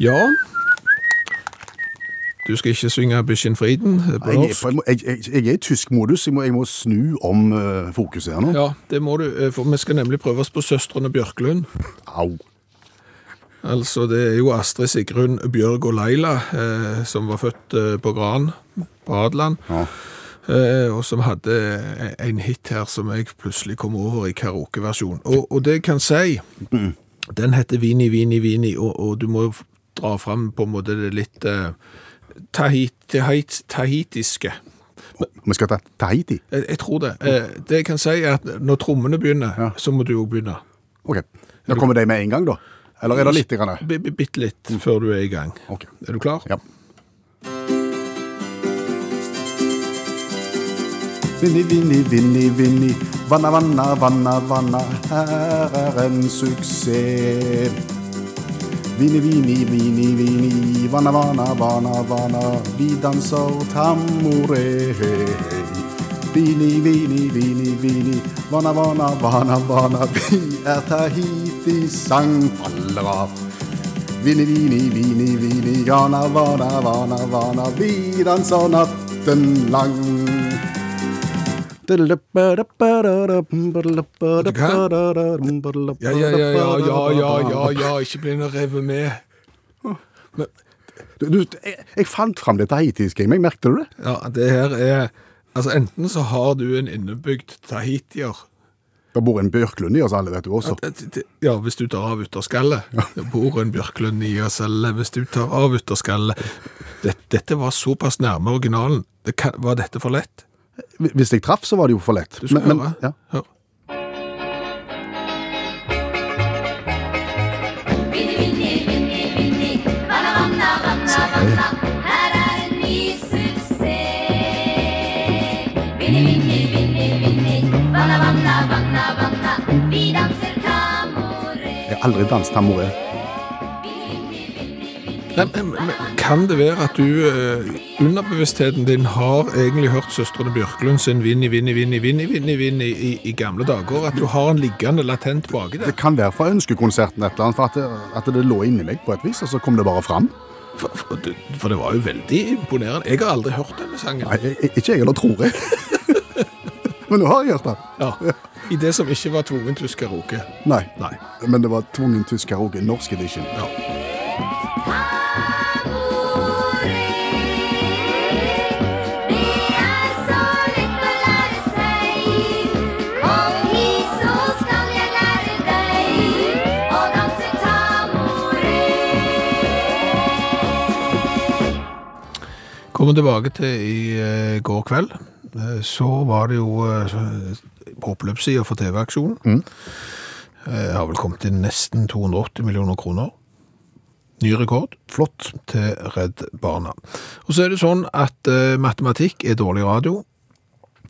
[SPEAKER 2] Ja Du skal ikke synge Bishin Frieden på
[SPEAKER 3] Jeg, er
[SPEAKER 2] norsk?
[SPEAKER 3] på- jeg, må- jeg, jeg, jeg er i tysk modus. Jeg må, jeg må snu om eh, fokuset her nå.
[SPEAKER 2] Ja, det må du, eh, for vi skal nemlig prøve oss på Søstrene Bjørklund.
[SPEAKER 3] Au.
[SPEAKER 2] Altså, det er jo Astrid Sigrun Bjørg og Leila, eh, som var født eh, på Gran, på Adeland,
[SPEAKER 3] Ja.
[SPEAKER 2] eh, og som hadde eh, en hit her som jeg plutselig kom over i karaokeversjon. Og, og det jeg kan si,
[SPEAKER 3] Mm.
[SPEAKER 2] den heter Vini, Vini, Vini, og, og du må jo f- dra frem på en måte det litt eh, tahit, tahit, tahitiske.
[SPEAKER 3] Vi skal til Tahiti.
[SPEAKER 2] Jeg, jeg tror det. Eh, det jeg kan si er at når trommene begynner,
[SPEAKER 3] Ja.
[SPEAKER 2] så må du jo begynne.
[SPEAKER 3] Ok. Da kommer de med en gang, da? Eller er det litt? Grann? Mm.
[SPEAKER 2] B- b- Bitte litt før du er i gang.
[SPEAKER 3] Ok.
[SPEAKER 2] Er du klar?
[SPEAKER 3] Ja. Vinni, vinni, vinni, vinni. Vanna, vanna, vanna, vanna. Her er en suksess. Vinni, vinni, vinni, vinni. Vanna, vanna, vanna, vanna. Vi danser tamore. Vini, vini, vini, vini. Vanna, vanna, vanna, vanna. Vi er Tahiti-sang. Allera. Vini, vini, vini, vini, jana, vana, vana, vana, vi danser natten lang.
[SPEAKER 2] Ja, ja, ja, ja, ja, ja, ja, ja, ikke bli noe revet med.
[SPEAKER 3] Du, du, jeg, jeg fant fram det tahitiske, jeg merkte du det?
[SPEAKER 2] Ja, det her er Altså, enten så har du en innebygd tahitier,
[SPEAKER 3] Det bor en Bjørklund i oss alle, vet du også.
[SPEAKER 2] Det- det- Ja, hvis du tar av ytterskallet. Det bor en bjørklund i oss alle. Hvis du tar av ytterskallet. Dette, dette var såpass nærme originalen. Det kan, var dette for lett?
[SPEAKER 3] Hvis jeg traff, så var det jo for lett.
[SPEAKER 2] Du skal
[SPEAKER 3] Men- men-
[SPEAKER 2] høre.
[SPEAKER 3] ja.
[SPEAKER 2] Hør.
[SPEAKER 11] Vinni, vinni, vinni, vinni. Vanna, vanna, vanna, vanna. Her er en ny suksess. Vinni, vinni, vinni, vinni. Vanna, vanna, vanna, vanna. Vi danser tamore.
[SPEAKER 3] Jeg har aldri danset tamore.
[SPEAKER 2] Nei, men, men, kan det være at du eh, underbevisstheten din har egentlig hørt søstrene Bjørklund sin Vinni, Vinni, Vinni, Vinni, Vinni, Vinni i, i gamle dager? At du har en liggende latent baki der?
[SPEAKER 3] Det kan være fra ønskekonserten et eller annet, for at det, at det lå inni meg på et vis, og så kom det bare fram.
[SPEAKER 2] For, for, det- for det var jo veldig imponerende. Jeg har aldri hørt denne sangen.
[SPEAKER 3] Nei, jeg- jeg- ikke jeg, eller tror jeg. Men nå har jeg hørt det.
[SPEAKER 2] Ja, I det som ikke var tvungen tysk karaoke.
[SPEAKER 3] Nei.
[SPEAKER 2] Nei.
[SPEAKER 3] Men det var tvungen tysk karaoke, norsk edition.
[SPEAKER 2] Ja. Kommer tilbake til i eh, går kveld, eh, så var det jo eh, på oppløpssida for TV-aksjonen. Eh, har vel kommet inn nesten 280 millioner kroner. Ny rekord. Flott til Redd Barna. Og så er det sånn at eh, matematikk er dårlig radio.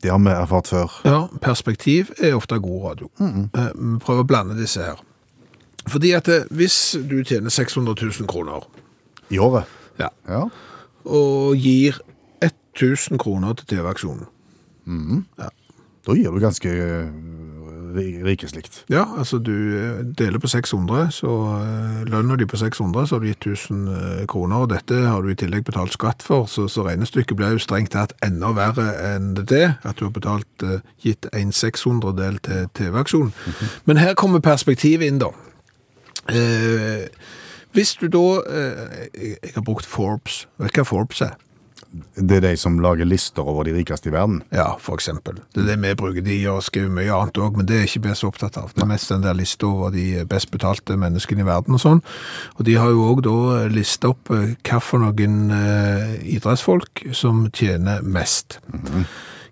[SPEAKER 12] Det har vi erfart før.
[SPEAKER 2] Ja, perspektiv er ofte god radio. Eh, Vi prøver å blande disse her. Fordi at eh, hvis du tjener 600 000 kroner,
[SPEAKER 12] I året.
[SPEAKER 2] ja,
[SPEAKER 12] Ja.
[SPEAKER 2] og gir 1000 kroner til TV-aksjonen.
[SPEAKER 12] Da gir du ganske øh, ri- rikeslikt.
[SPEAKER 2] Ja, altså du eh, deler på 600, så eh, lønner de på 600, så har du gitt 1000 eh, kroner, og dette har du i tillegg betalt skatt for, så, så regnestykket blir jo strengt tatt enda verre enn det, at du har betalt eh, gitt en 600-del til TV-aksjonen. Men her kommer perspektivet inn da. Eh, hvis du da, eh, jeg, jeg har brukt Forbes, vet du hva Forbes er?
[SPEAKER 12] Det er de som lager lister over de rikeste i verden.
[SPEAKER 2] Ja, for eksempel. Det er det vi bruker de og skriver mye annet òg, men det er ikke vi så opptatt av. Det er mest den der lista over de best betalte menneskene i verden og sånn. Og de har jo òg da lista opp eh, hva for noen eh, idrettsfolk som tjener mest.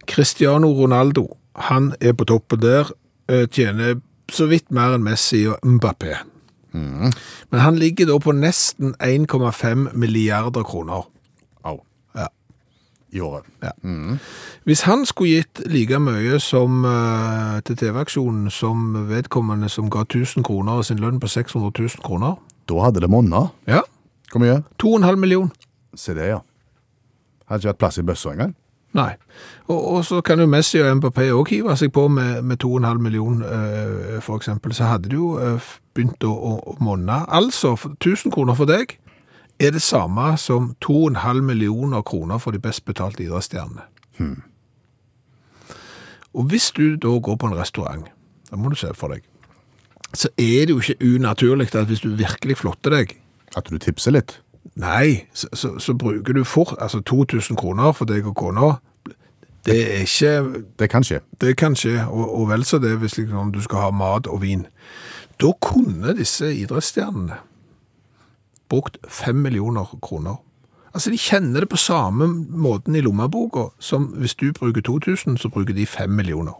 [SPEAKER 2] Cristiano Ronaldo, han er på toppen der. eh, Tjener så vidt mer enn Messi og Mbappé. Men han ligger da på nesten 1,5 milliarder kroner.
[SPEAKER 12] Au.
[SPEAKER 2] Ja.
[SPEAKER 12] I året.
[SPEAKER 2] Hvis han skulle gitt like mye som, eh, til TV-aksjonen som vedkommende som ga 1000 kroner av sin lønn på 600 000 kroner
[SPEAKER 12] Da hadde det monna.
[SPEAKER 2] Ja,
[SPEAKER 12] Hvor mye?
[SPEAKER 2] 2,5 million.
[SPEAKER 12] Se det, ja. Hadde ikke vært plass i bøssa engang.
[SPEAKER 2] Nei. Og, og så kan jo Messi og Mbappé òg hive seg på med, med 2,5 million, eh, for eksempel. Så hadde det jo eh, begynt å, å, å monne. Altså, for- 1000 kroner for deg er det samme som 2,5 millioner kroner for de best betalte idrettsstjernene. Og hvis du da går på en restaurant, da må du se for deg, så er det jo ikke unaturlig at hvis du virkelig flotter deg,
[SPEAKER 12] At du tipser litt.
[SPEAKER 2] Nei, så, så, så bruker du for, altså 2000 kroner for deg og kona. Det er ikke,
[SPEAKER 12] Det kan skje.
[SPEAKER 2] det kan skje, og, og vel så det hvis liksom, du skal ha mat og vin. Da kunne disse idrettsstjernene brukt 5 millioner kroner. Altså de kjenner det på samme måten i lommeboka, som hvis du bruker 2000, så bruker de 5 millioner.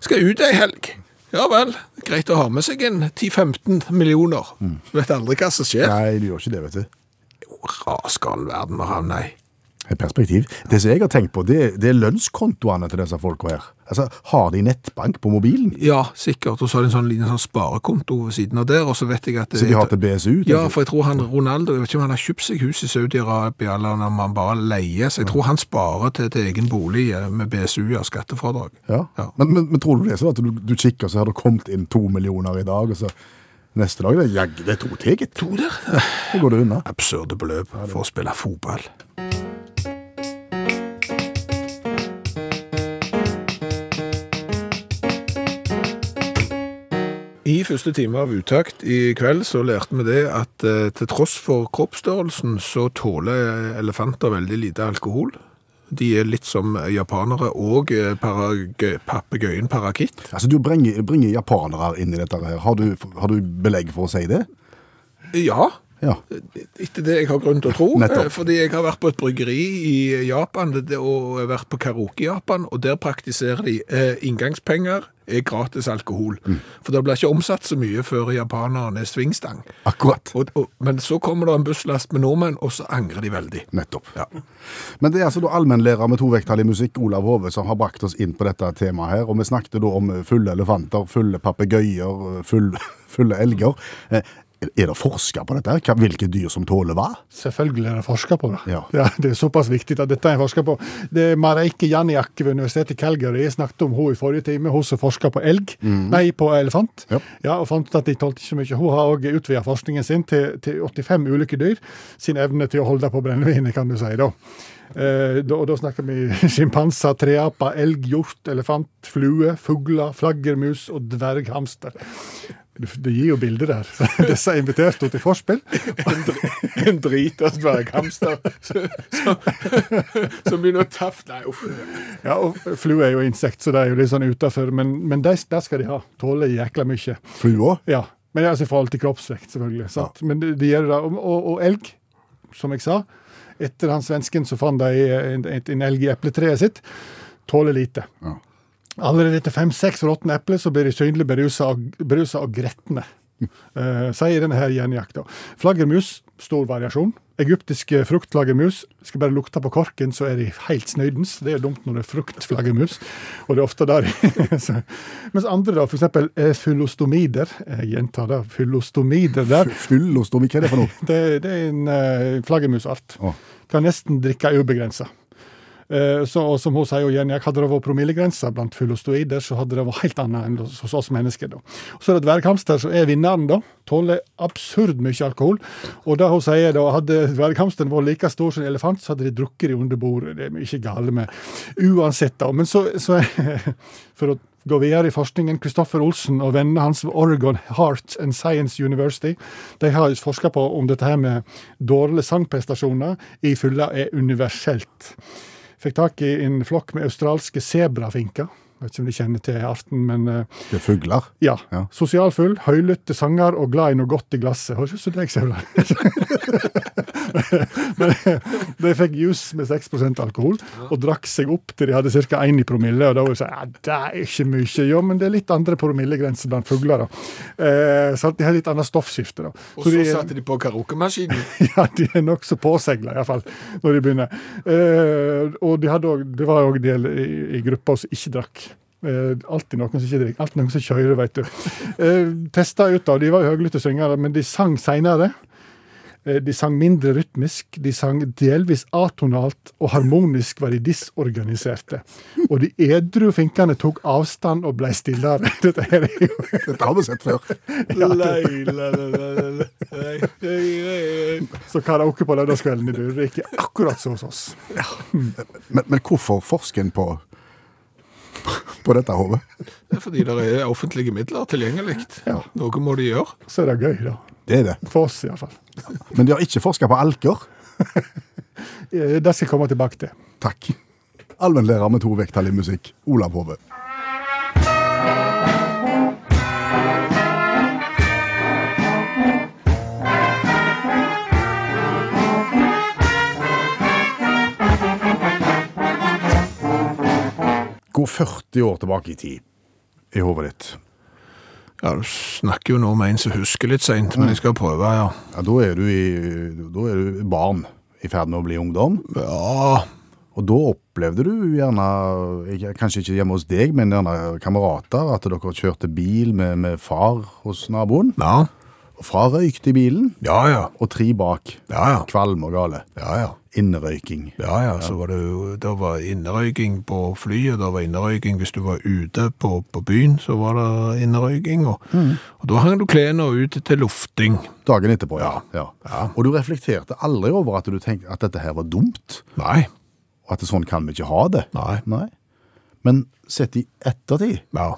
[SPEAKER 2] Skal ut ei helg? Ja vel, greit å ha med seg en 10-15 millioner. Vet aldri hva som skjer
[SPEAKER 12] Nei, du gjør ikke det, vet du.
[SPEAKER 2] rasgalen verden å havne i.
[SPEAKER 12] Et perspektiv. Det som jeg har tenkt på, det, det er lønnskontoene til disse folka her. Altså, Har de nettbank på mobilen?
[SPEAKER 2] Ja, sikkert. Og så har de en sånn liten sånn sparekonto ved siden av der, og så vet jeg at
[SPEAKER 12] Så de har til BSU? tenker
[SPEAKER 2] Ja,
[SPEAKER 12] du?
[SPEAKER 2] for jeg tror han Ronaldo Jeg vet ikke om han har kjøpt seg hus i Saudi-Arabia, eller om han bare leier. Så jeg tror han sparer til, til egen bolig eh, med BSU og skattefradrag.
[SPEAKER 12] Ja.
[SPEAKER 2] Ja.
[SPEAKER 12] Men, men, men tror du det er sånn at du, du kikker, så har det kommet inn to millioner i dag, og så neste dag det er jaggu det er to til, gitt.
[SPEAKER 2] To der?
[SPEAKER 12] Så går det unna.
[SPEAKER 2] Absurde beløp for å spille fotball. I første time av uttakt i kveld så lærte vi det at eh, til tross for kroppsstørrelsen så tåler elefanter veldig lite alkohol. De er litt som japanere og eh, paragø- papegøyen parakitt.
[SPEAKER 3] Altså, Du bringer, bringer japanere inn i dette her. Har du, har du belegg for å si det?
[SPEAKER 2] Ja,
[SPEAKER 3] Ja.
[SPEAKER 2] etter det jeg har grunn til å tro.
[SPEAKER 3] Nettopp.
[SPEAKER 2] eh, Fordi jeg har vært på et bryggeri i Japan det- og vært på karaoke i Japan, og der praktiserer de eh, inngangspenger er gratis alkohol. For det blir ikke omsatt så mye før japaneren er svingstang.
[SPEAKER 3] Akkurat.
[SPEAKER 2] Og, og, men så kommer det en busslast med nordmenn, og så angrer de veldig.
[SPEAKER 3] Nettopp. Men det er altså da allmennlærer med to vekttall i musikk, Olav Hove, som har brakt oss inn på dette temaet her. Og vi snakket da om fulle elefanter, fulle papegøyer, full, fulle elger. Eh, Er det forska på dette? her? Hva- Hvilke dyr som tåler hva?
[SPEAKER 4] Selvfølgelig er det forska på det.
[SPEAKER 3] Ja.
[SPEAKER 4] Ja, det er såpass viktig at dette er forska på. Det er Mareike Janniak ved Universitetet i Calgary. Jeg snakket om henne i forrige time. Hun som forska på elg, nei, på elefant.
[SPEAKER 3] Mhm. Ja.
[SPEAKER 4] og fant ut at de tålte ikke så mye. Hun har òg utvida forskningen sin til, til 85 ulike dyr. Sin evne til å holde på brennevinet, kan du si. da. Eh, da, og da snakker vi sjimpanser, treaper, elg, hjort, elefant, flue, fugler, flaggermus og dverghamster. Det gir jo bilder der. Disse er invitert til forspill.
[SPEAKER 2] En dritas dverghamster som, som begynner å taffe Nei, uff.
[SPEAKER 4] Ja, og Flue er jo insekt, så det er jo litt sånn utafor. Men, men de, der skal de ha. Tåler jækla mye.
[SPEAKER 3] Flua?
[SPEAKER 4] Ja, Men det er altså i forhold til kroppsvekt, selvfølgelig. Sant? Men de, de gjør det. Og, og, og elg, som jeg sa. Etter han svensken så fant de en, en, en elg i epletreet sitt. Tåler lite. Allerede etter fem-seks råtne epler så blir de synlig berusa og, berusa og gretne. Eh, sier denne her gjenjakta. Flaggermus, stor variasjon. Egyptiske fruktflaggermus. Skal bare lukte på korken, så er de helt snøydens. Det er dumt når det er fruktflaggermus, og det er ofte der. så. Mens andre, da, f.eks. fyllostomider. Jeg gjentar det, fyllostomider der.
[SPEAKER 3] Fyllostomi, hva er det for noe?
[SPEAKER 4] Det, det er en uh, flaggermusart.
[SPEAKER 3] Å.
[SPEAKER 4] Kan nesten drikke ubegrensa. Eh, så, og som hun sier, jo, Jenny, hadde det vært promillegrenser blant fyllostoider, så hadde det vært helt annet enn hos hos oss mennesker. da. Så er det dverghamster som er vinneren, da. Tåler absurd mye alkohol. Og det hun sier da, hadde dverghamsteren vært like stor som en elefant, så hadde de drukket de under bordet. Det er mye gale med Uansett, da. Men så, så For å gå videre i forskningen, Kristoffer Olsen og vennene hans ved Oregon Heart and Science University de har forska på om dette her med dårlige sangprestasjoner i fylla er universelt. Fikk tak i en flokk med australske sebrafinker. Vet ikke om de kjenner til arten, men eh,
[SPEAKER 3] Det er fugler.
[SPEAKER 4] ja.
[SPEAKER 3] Ja.
[SPEAKER 4] Sosialfull, høylytte sanger og glad i noe godt i glasset. Høres ut som deg, Sevla. Men eh, de fikk juice med 6 alkohol og drakk seg opp til de hadde ca. 1 i promille. Og da var det sånn ja, Det er ikke mye. Jo, men det er litt andre promillegrenser blant fugler, da. Eh, så de har litt annet stoffskifte, da.
[SPEAKER 2] Og så
[SPEAKER 4] de-
[SPEAKER 2] satte de på karaokemaskinen.
[SPEAKER 4] ja, de er nokså påsegla, iallfall, når de begynner. Eh, og de hadde også, det var òg en del i, i gruppa som ikke drakk. Eh, alltid noen som ikke drikker. Alltid noen som kjører, vet du. Eh, Testa ut, da. De var jo høylytte syngere, men de sang seinere. Eh, De sang mindre rytmisk, de sang delvis atonalt, og harmonisk var de disorganiserte. Og de edru finkene tok avstand og ble stillere. Dette her er jo
[SPEAKER 3] Dette har vi sett før.
[SPEAKER 4] Så karaoke på lørdagskvelden i Durvik er akkurat så hos oss.
[SPEAKER 3] Men, men hvorfor forsker en på på dette hodet?
[SPEAKER 2] Det er fordi det er offentlige midler tilgjengelig.
[SPEAKER 4] Ja.
[SPEAKER 2] Noe må de gjøre.
[SPEAKER 4] Så er det gøy, da.
[SPEAKER 3] Det er det.
[SPEAKER 4] For oss, iallfall.
[SPEAKER 3] Men de har ikke forska på alker.
[SPEAKER 4] Eh, Det skal jeg komme tilbake til.
[SPEAKER 3] Takk. Allmennlærer med to vekttall i musikk, Olav Hove. Gå 40 år tilbake i tid i hodet ditt.
[SPEAKER 2] Ja, Du snakker jo nå med en som husker litt seint, men jeg skal prøve, ja.
[SPEAKER 3] Ja, da, er du i, da er du barn i ferd med å bli ungdom.
[SPEAKER 2] Ja,
[SPEAKER 3] Og da opplevde du gjerne, ikke- kanskje ikke hjemme hos deg, men gjerne kamerater, at dere kjørte bil med, med far hos naboen.
[SPEAKER 2] ja,
[SPEAKER 3] Og far røykte i bilen,
[SPEAKER 2] ja. ja.
[SPEAKER 3] og tre bak.
[SPEAKER 2] Ja, ja.
[SPEAKER 3] Kvalm og gale.
[SPEAKER 2] Ja, ja.
[SPEAKER 3] Innrøyking.
[SPEAKER 2] Ja, ja, så var det jo Det var innerøyking på flyet, det var innerøyking hvis du var ute på, på byen, så var det innerøyking. Og, og da hang du klærne ut til lufting.
[SPEAKER 3] Dagen etterpå, ja. Ja. Og du reflekterte aldri over at du tenkte at dette her var dumt,
[SPEAKER 2] Nei.
[SPEAKER 3] og at sånn kan vi ikke ha det.
[SPEAKER 2] Nei.
[SPEAKER 3] Men sett i ettertid
[SPEAKER 2] Ja.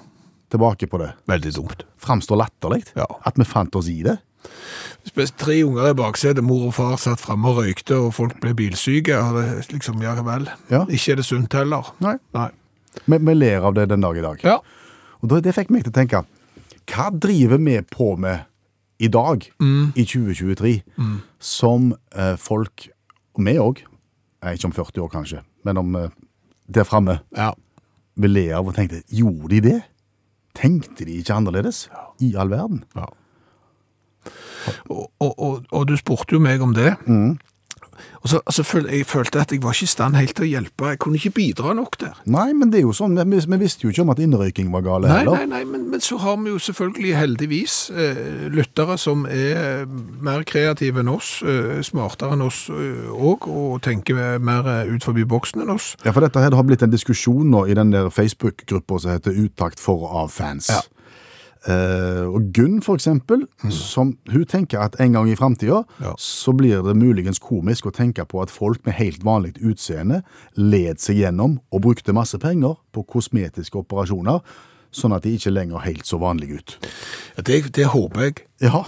[SPEAKER 3] tilbake på det,
[SPEAKER 2] Veldig dumt.
[SPEAKER 3] framstår latterlig
[SPEAKER 2] Ja.
[SPEAKER 3] at vi fant oss i det.
[SPEAKER 2] Spes- Tre unger i baksetet, mor og far satt framme og røykte, og folk ble bilsyke. og det Liksom, ja vel.
[SPEAKER 3] Ja.
[SPEAKER 2] Ikke er det sunt heller.
[SPEAKER 3] Nei. Vi, vi ler av det den dag i dag.
[SPEAKER 2] Ja.
[SPEAKER 3] Og det, det fikk meg til å tenke, hva driver vi på med i dag,
[SPEAKER 2] Mm.
[SPEAKER 3] i 2023, som eh, folk, og vi òg, ikke om 40 år kanskje, men om eh, der framme,
[SPEAKER 2] ja.
[SPEAKER 3] vi ler av og tenkte, gjorde de det? Tenkte de ikke annerledes? I all verden?
[SPEAKER 2] Og, og, og, og du spurte jo meg om det. Og så, altså, føl- Jeg følte at jeg var ikke i stand helt til å hjelpe. Jeg kunne ikke bidra nok der.
[SPEAKER 3] Nei, men det er jo sånn, vi, vi visste jo ikke om at innrøyking var gale
[SPEAKER 2] Nei,
[SPEAKER 3] heller.
[SPEAKER 2] nei, nei, men, men så har vi jo selvfølgelig heldigvis eh, lyttere som er eh, mer kreative enn oss, eh, smartere enn oss òg, og tenker mer eh, ut forbi boksen enn oss.
[SPEAKER 3] Ja, for dette her det har blitt en diskusjon nå i den der Facebook-gruppa som heter Uttakt for og av fans.
[SPEAKER 2] Ja. Mm.
[SPEAKER 3] Eh, og Gunn, for eksempel, som, hun tenker at en gang i framtida
[SPEAKER 2] Ja.
[SPEAKER 3] så blir det muligens komisk å tenke på at folk med helt vanlig utseende led seg gjennom og brukte masse penger på kosmetiske operasjoner, sånn at de ikke lenger helt så vanlige ut.
[SPEAKER 2] Ja, Det, det håper jeg.
[SPEAKER 3] Ja,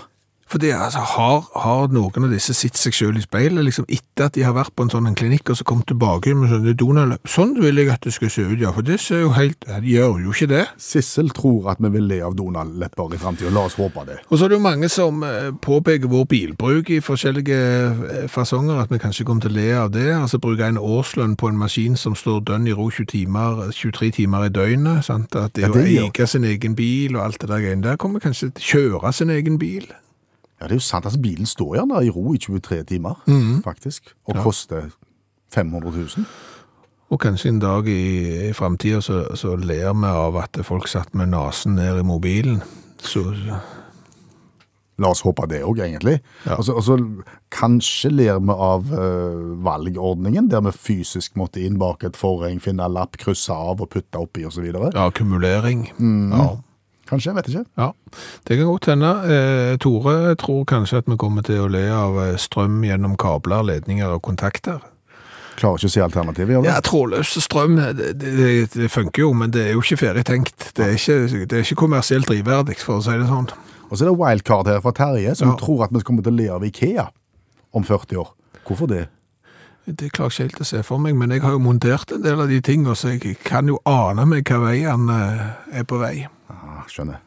[SPEAKER 2] Fordi altså, har, har noen av disse sett seg selv i speilet liksom, etter at de har vært på en sånn en klinikk og så kommet tilbake med sånne Donald Sånn vil jeg at det skal se ut, ja, for det ser jo helt ja, De gjør jo ikke det.
[SPEAKER 3] Sissel tror at vi vil le av Donald-lepper i framtida. La oss håpe det.
[SPEAKER 2] Og så er det jo mange som eh, påpeker vår bilbruk i forskjellige eh, fasonger, at vi kanskje kommer til å le av det. Altså bruke en årslønn på en maskin som står dønn i ro 20 timer, 23 timer i døgnet. Sant? At det
[SPEAKER 3] Ja,
[SPEAKER 2] å
[SPEAKER 3] det er jo-
[SPEAKER 2] eie sin egen bil og alt det der greiene der, kommer kanskje til å kjøre sin egen bil.
[SPEAKER 3] Ja, det er jo sant. Altså, bilen står gjerne i ro i 23 timer,
[SPEAKER 2] Mhm.
[SPEAKER 3] faktisk, og koster 500 000.
[SPEAKER 2] Og kanskje en dag i, i framtida så, så ler vi av at folk satt med nesen ned i mobilen. Så,
[SPEAKER 3] La oss håpe det òg, egentlig.
[SPEAKER 2] Ja.
[SPEAKER 3] Og så- og så kanskje ler vi av eh, valgordningen, der vi fysisk måtte inn bak et forheng, finne lapp, krysse av og putte oppi osv. videre.
[SPEAKER 2] ja, akkumulering. Ja.
[SPEAKER 3] Kanskje, jeg vet ikke.
[SPEAKER 2] ja. Det kan godt hende. Eh, Tore tror kanskje at vi kommer til å le av eh, strøm gjennom kabler, ledninger og kontakter.
[SPEAKER 3] Klarer ikke å se alternativet. gjør du?
[SPEAKER 2] Ja, trådløs strøm, det, det, det- det funker jo, men det er jo ikke ferdig tenkt. Det er ikke, det er ikke kommersielt drivverdig, for å si det sånn.
[SPEAKER 3] Og så er det wildcard her fra Terje, som
[SPEAKER 2] Ja.
[SPEAKER 3] tror at vi kommer til å le av Ikea om 40 år. Hvorfor det?
[SPEAKER 2] Det klarer jeg ikke helt å se for meg, men jeg har jo montert en del av de tingene, så jeg kan jo ane meg hva veien eh, er på vei.
[SPEAKER 3] Ah, skjønner.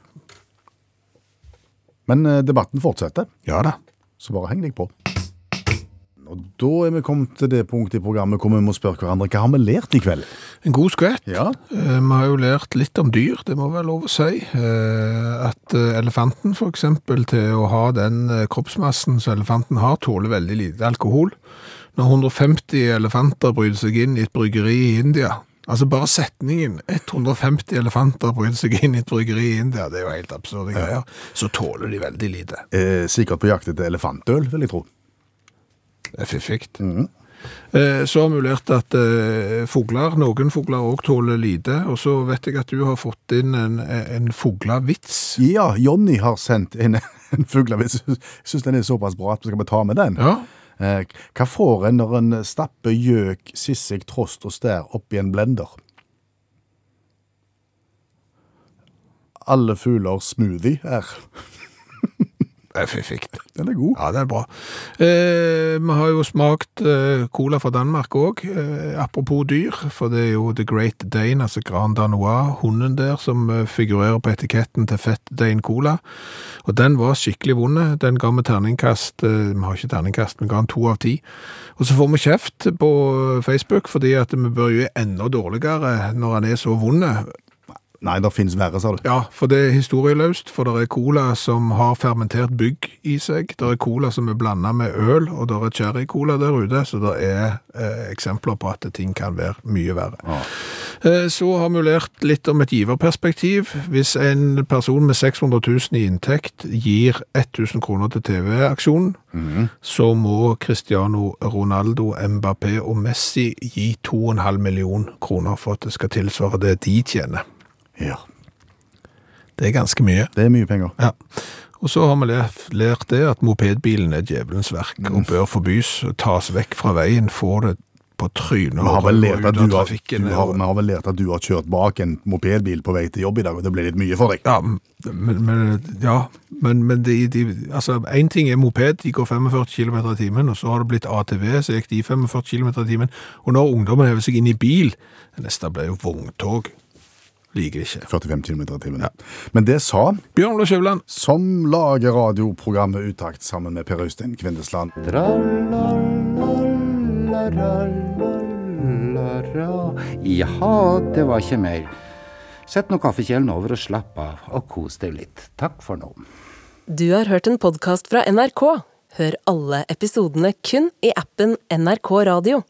[SPEAKER 3] Men eh, debatten fortsetter.
[SPEAKER 2] Ja da.
[SPEAKER 3] så bare heng deg på. Og da er vi kommet til det punktet i programmet hvor vi må spørre hverandre hva har vi lært i kveld?
[SPEAKER 2] En god skvett.
[SPEAKER 3] Ja.
[SPEAKER 2] Eh, Vi har jo lært litt om dyr, det må være lov å si. Eh, At eh, elefanten for eksempel, til å ha den eh, kroppsmassen som elefanten har, tåler veldig lite alkohol. Når 150 elefanter bryter seg inn i et bryggeri i India, altså bare setningen 150 elefanter bryter seg inn i et bryggeri i India, det er jo helt absurde greier, så tåler de veldig lite.
[SPEAKER 3] Eh, sikkert på jakt etter elefantøl, vil jeg tro.
[SPEAKER 2] Det er fiffigt. Eh, Så har vi jo lært at eh, fogler, noen fogler også tåler lite, og så vet jeg at du har fått inn en, en foglavits.
[SPEAKER 3] Ja, Jonny har sendt inn en fuglevits. Jeg syns den er såpass bra at vi skal ta med den.
[SPEAKER 2] Ja,
[SPEAKER 3] Eh, hva får en når en stapper gjøk, sissik, trost og stær oppi en blender? Alle fugler smoothie er.
[SPEAKER 2] det er fiffigt.
[SPEAKER 3] Den er god.
[SPEAKER 2] Ja, det er bra. Eh, vi har jo smakt eh, cola fra Danmark òg, eh, apropos dyr. For det er jo The Great Dane, altså Grand Danois, hunden der, som eh, figurerer på etiketten til Fett Dane Cola. Og den var skikkelig vond. eh, Den ga vi terningkast eh, Vi har ikke terningkast, men ga den to av ti. Og så får vi kjeft på Facebook fordi at vi bør gjøre enda dårligere når han er så vond.
[SPEAKER 3] Nei, det finnes verre, sa du.
[SPEAKER 2] Ja, for det er historieløst, for det er cola som har fermentert bygg i seg, det er cola som er blandet med øl, og det er cherry-cola der ute, så det er eh, eksempler på at ting kan være mye verre. Eh, så har vi lært litt om et giverperspektiv. Hvis en person med 600 000 i inntekt gir 1000 kroner til TV-aksjonen, så må Cristiano Ronaldo, Mbappé og Messi gi 2,5 million kroner for at det skal tilsvare det de tjener.
[SPEAKER 3] Ja.
[SPEAKER 2] Det er ganske mye.
[SPEAKER 3] Det er mye penger.
[SPEAKER 2] Ja. Og så har vi lært-
[SPEAKER 3] Mm.
[SPEAKER 2] lært det at mopedbilen er djevelens verk og bør forbys, tas vekk fra veien, få det på trynet
[SPEAKER 3] Vi har
[SPEAKER 2] og
[SPEAKER 3] vel
[SPEAKER 2] ut
[SPEAKER 3] lært at
[SPEAKER 2] av
[SPEAKER 3] du har,
[SPEAKER 2] trafikken.
[SPEAKER 3] du har, vi har, vel lært at du har kjørt bak en mopedbil på vei til jobb i dag, og det ble litt mye for deg.
[SPEAKER 2] Ja, men, men, ja, men, men de, de, altså, en ting er moped, de går 45 km i timen, og så har det blitt ATV, så gikk de 45 km i timen. Og når ungdommen hever seg inn i bil, det neste ble jo vogntog. Liker ikke.
[SPEAKER 3] 45 km i timen. Men det sa,
[SPEAKER 2] Bjørn Skjøvland.
[SPEAKER 3] som lager radioprogrammet Utakt sammen med Per Øystein Kvindesland.
[SPEAKER 13] Jaha, det var ikke mer. Sett nå kaffekjelen over og slapp av, og kos deg litt. Takk for nå.
[SPEAKER 9] Du har hørt en podkast fra NRK. Hør alle episodene kun i appen NRK Radio.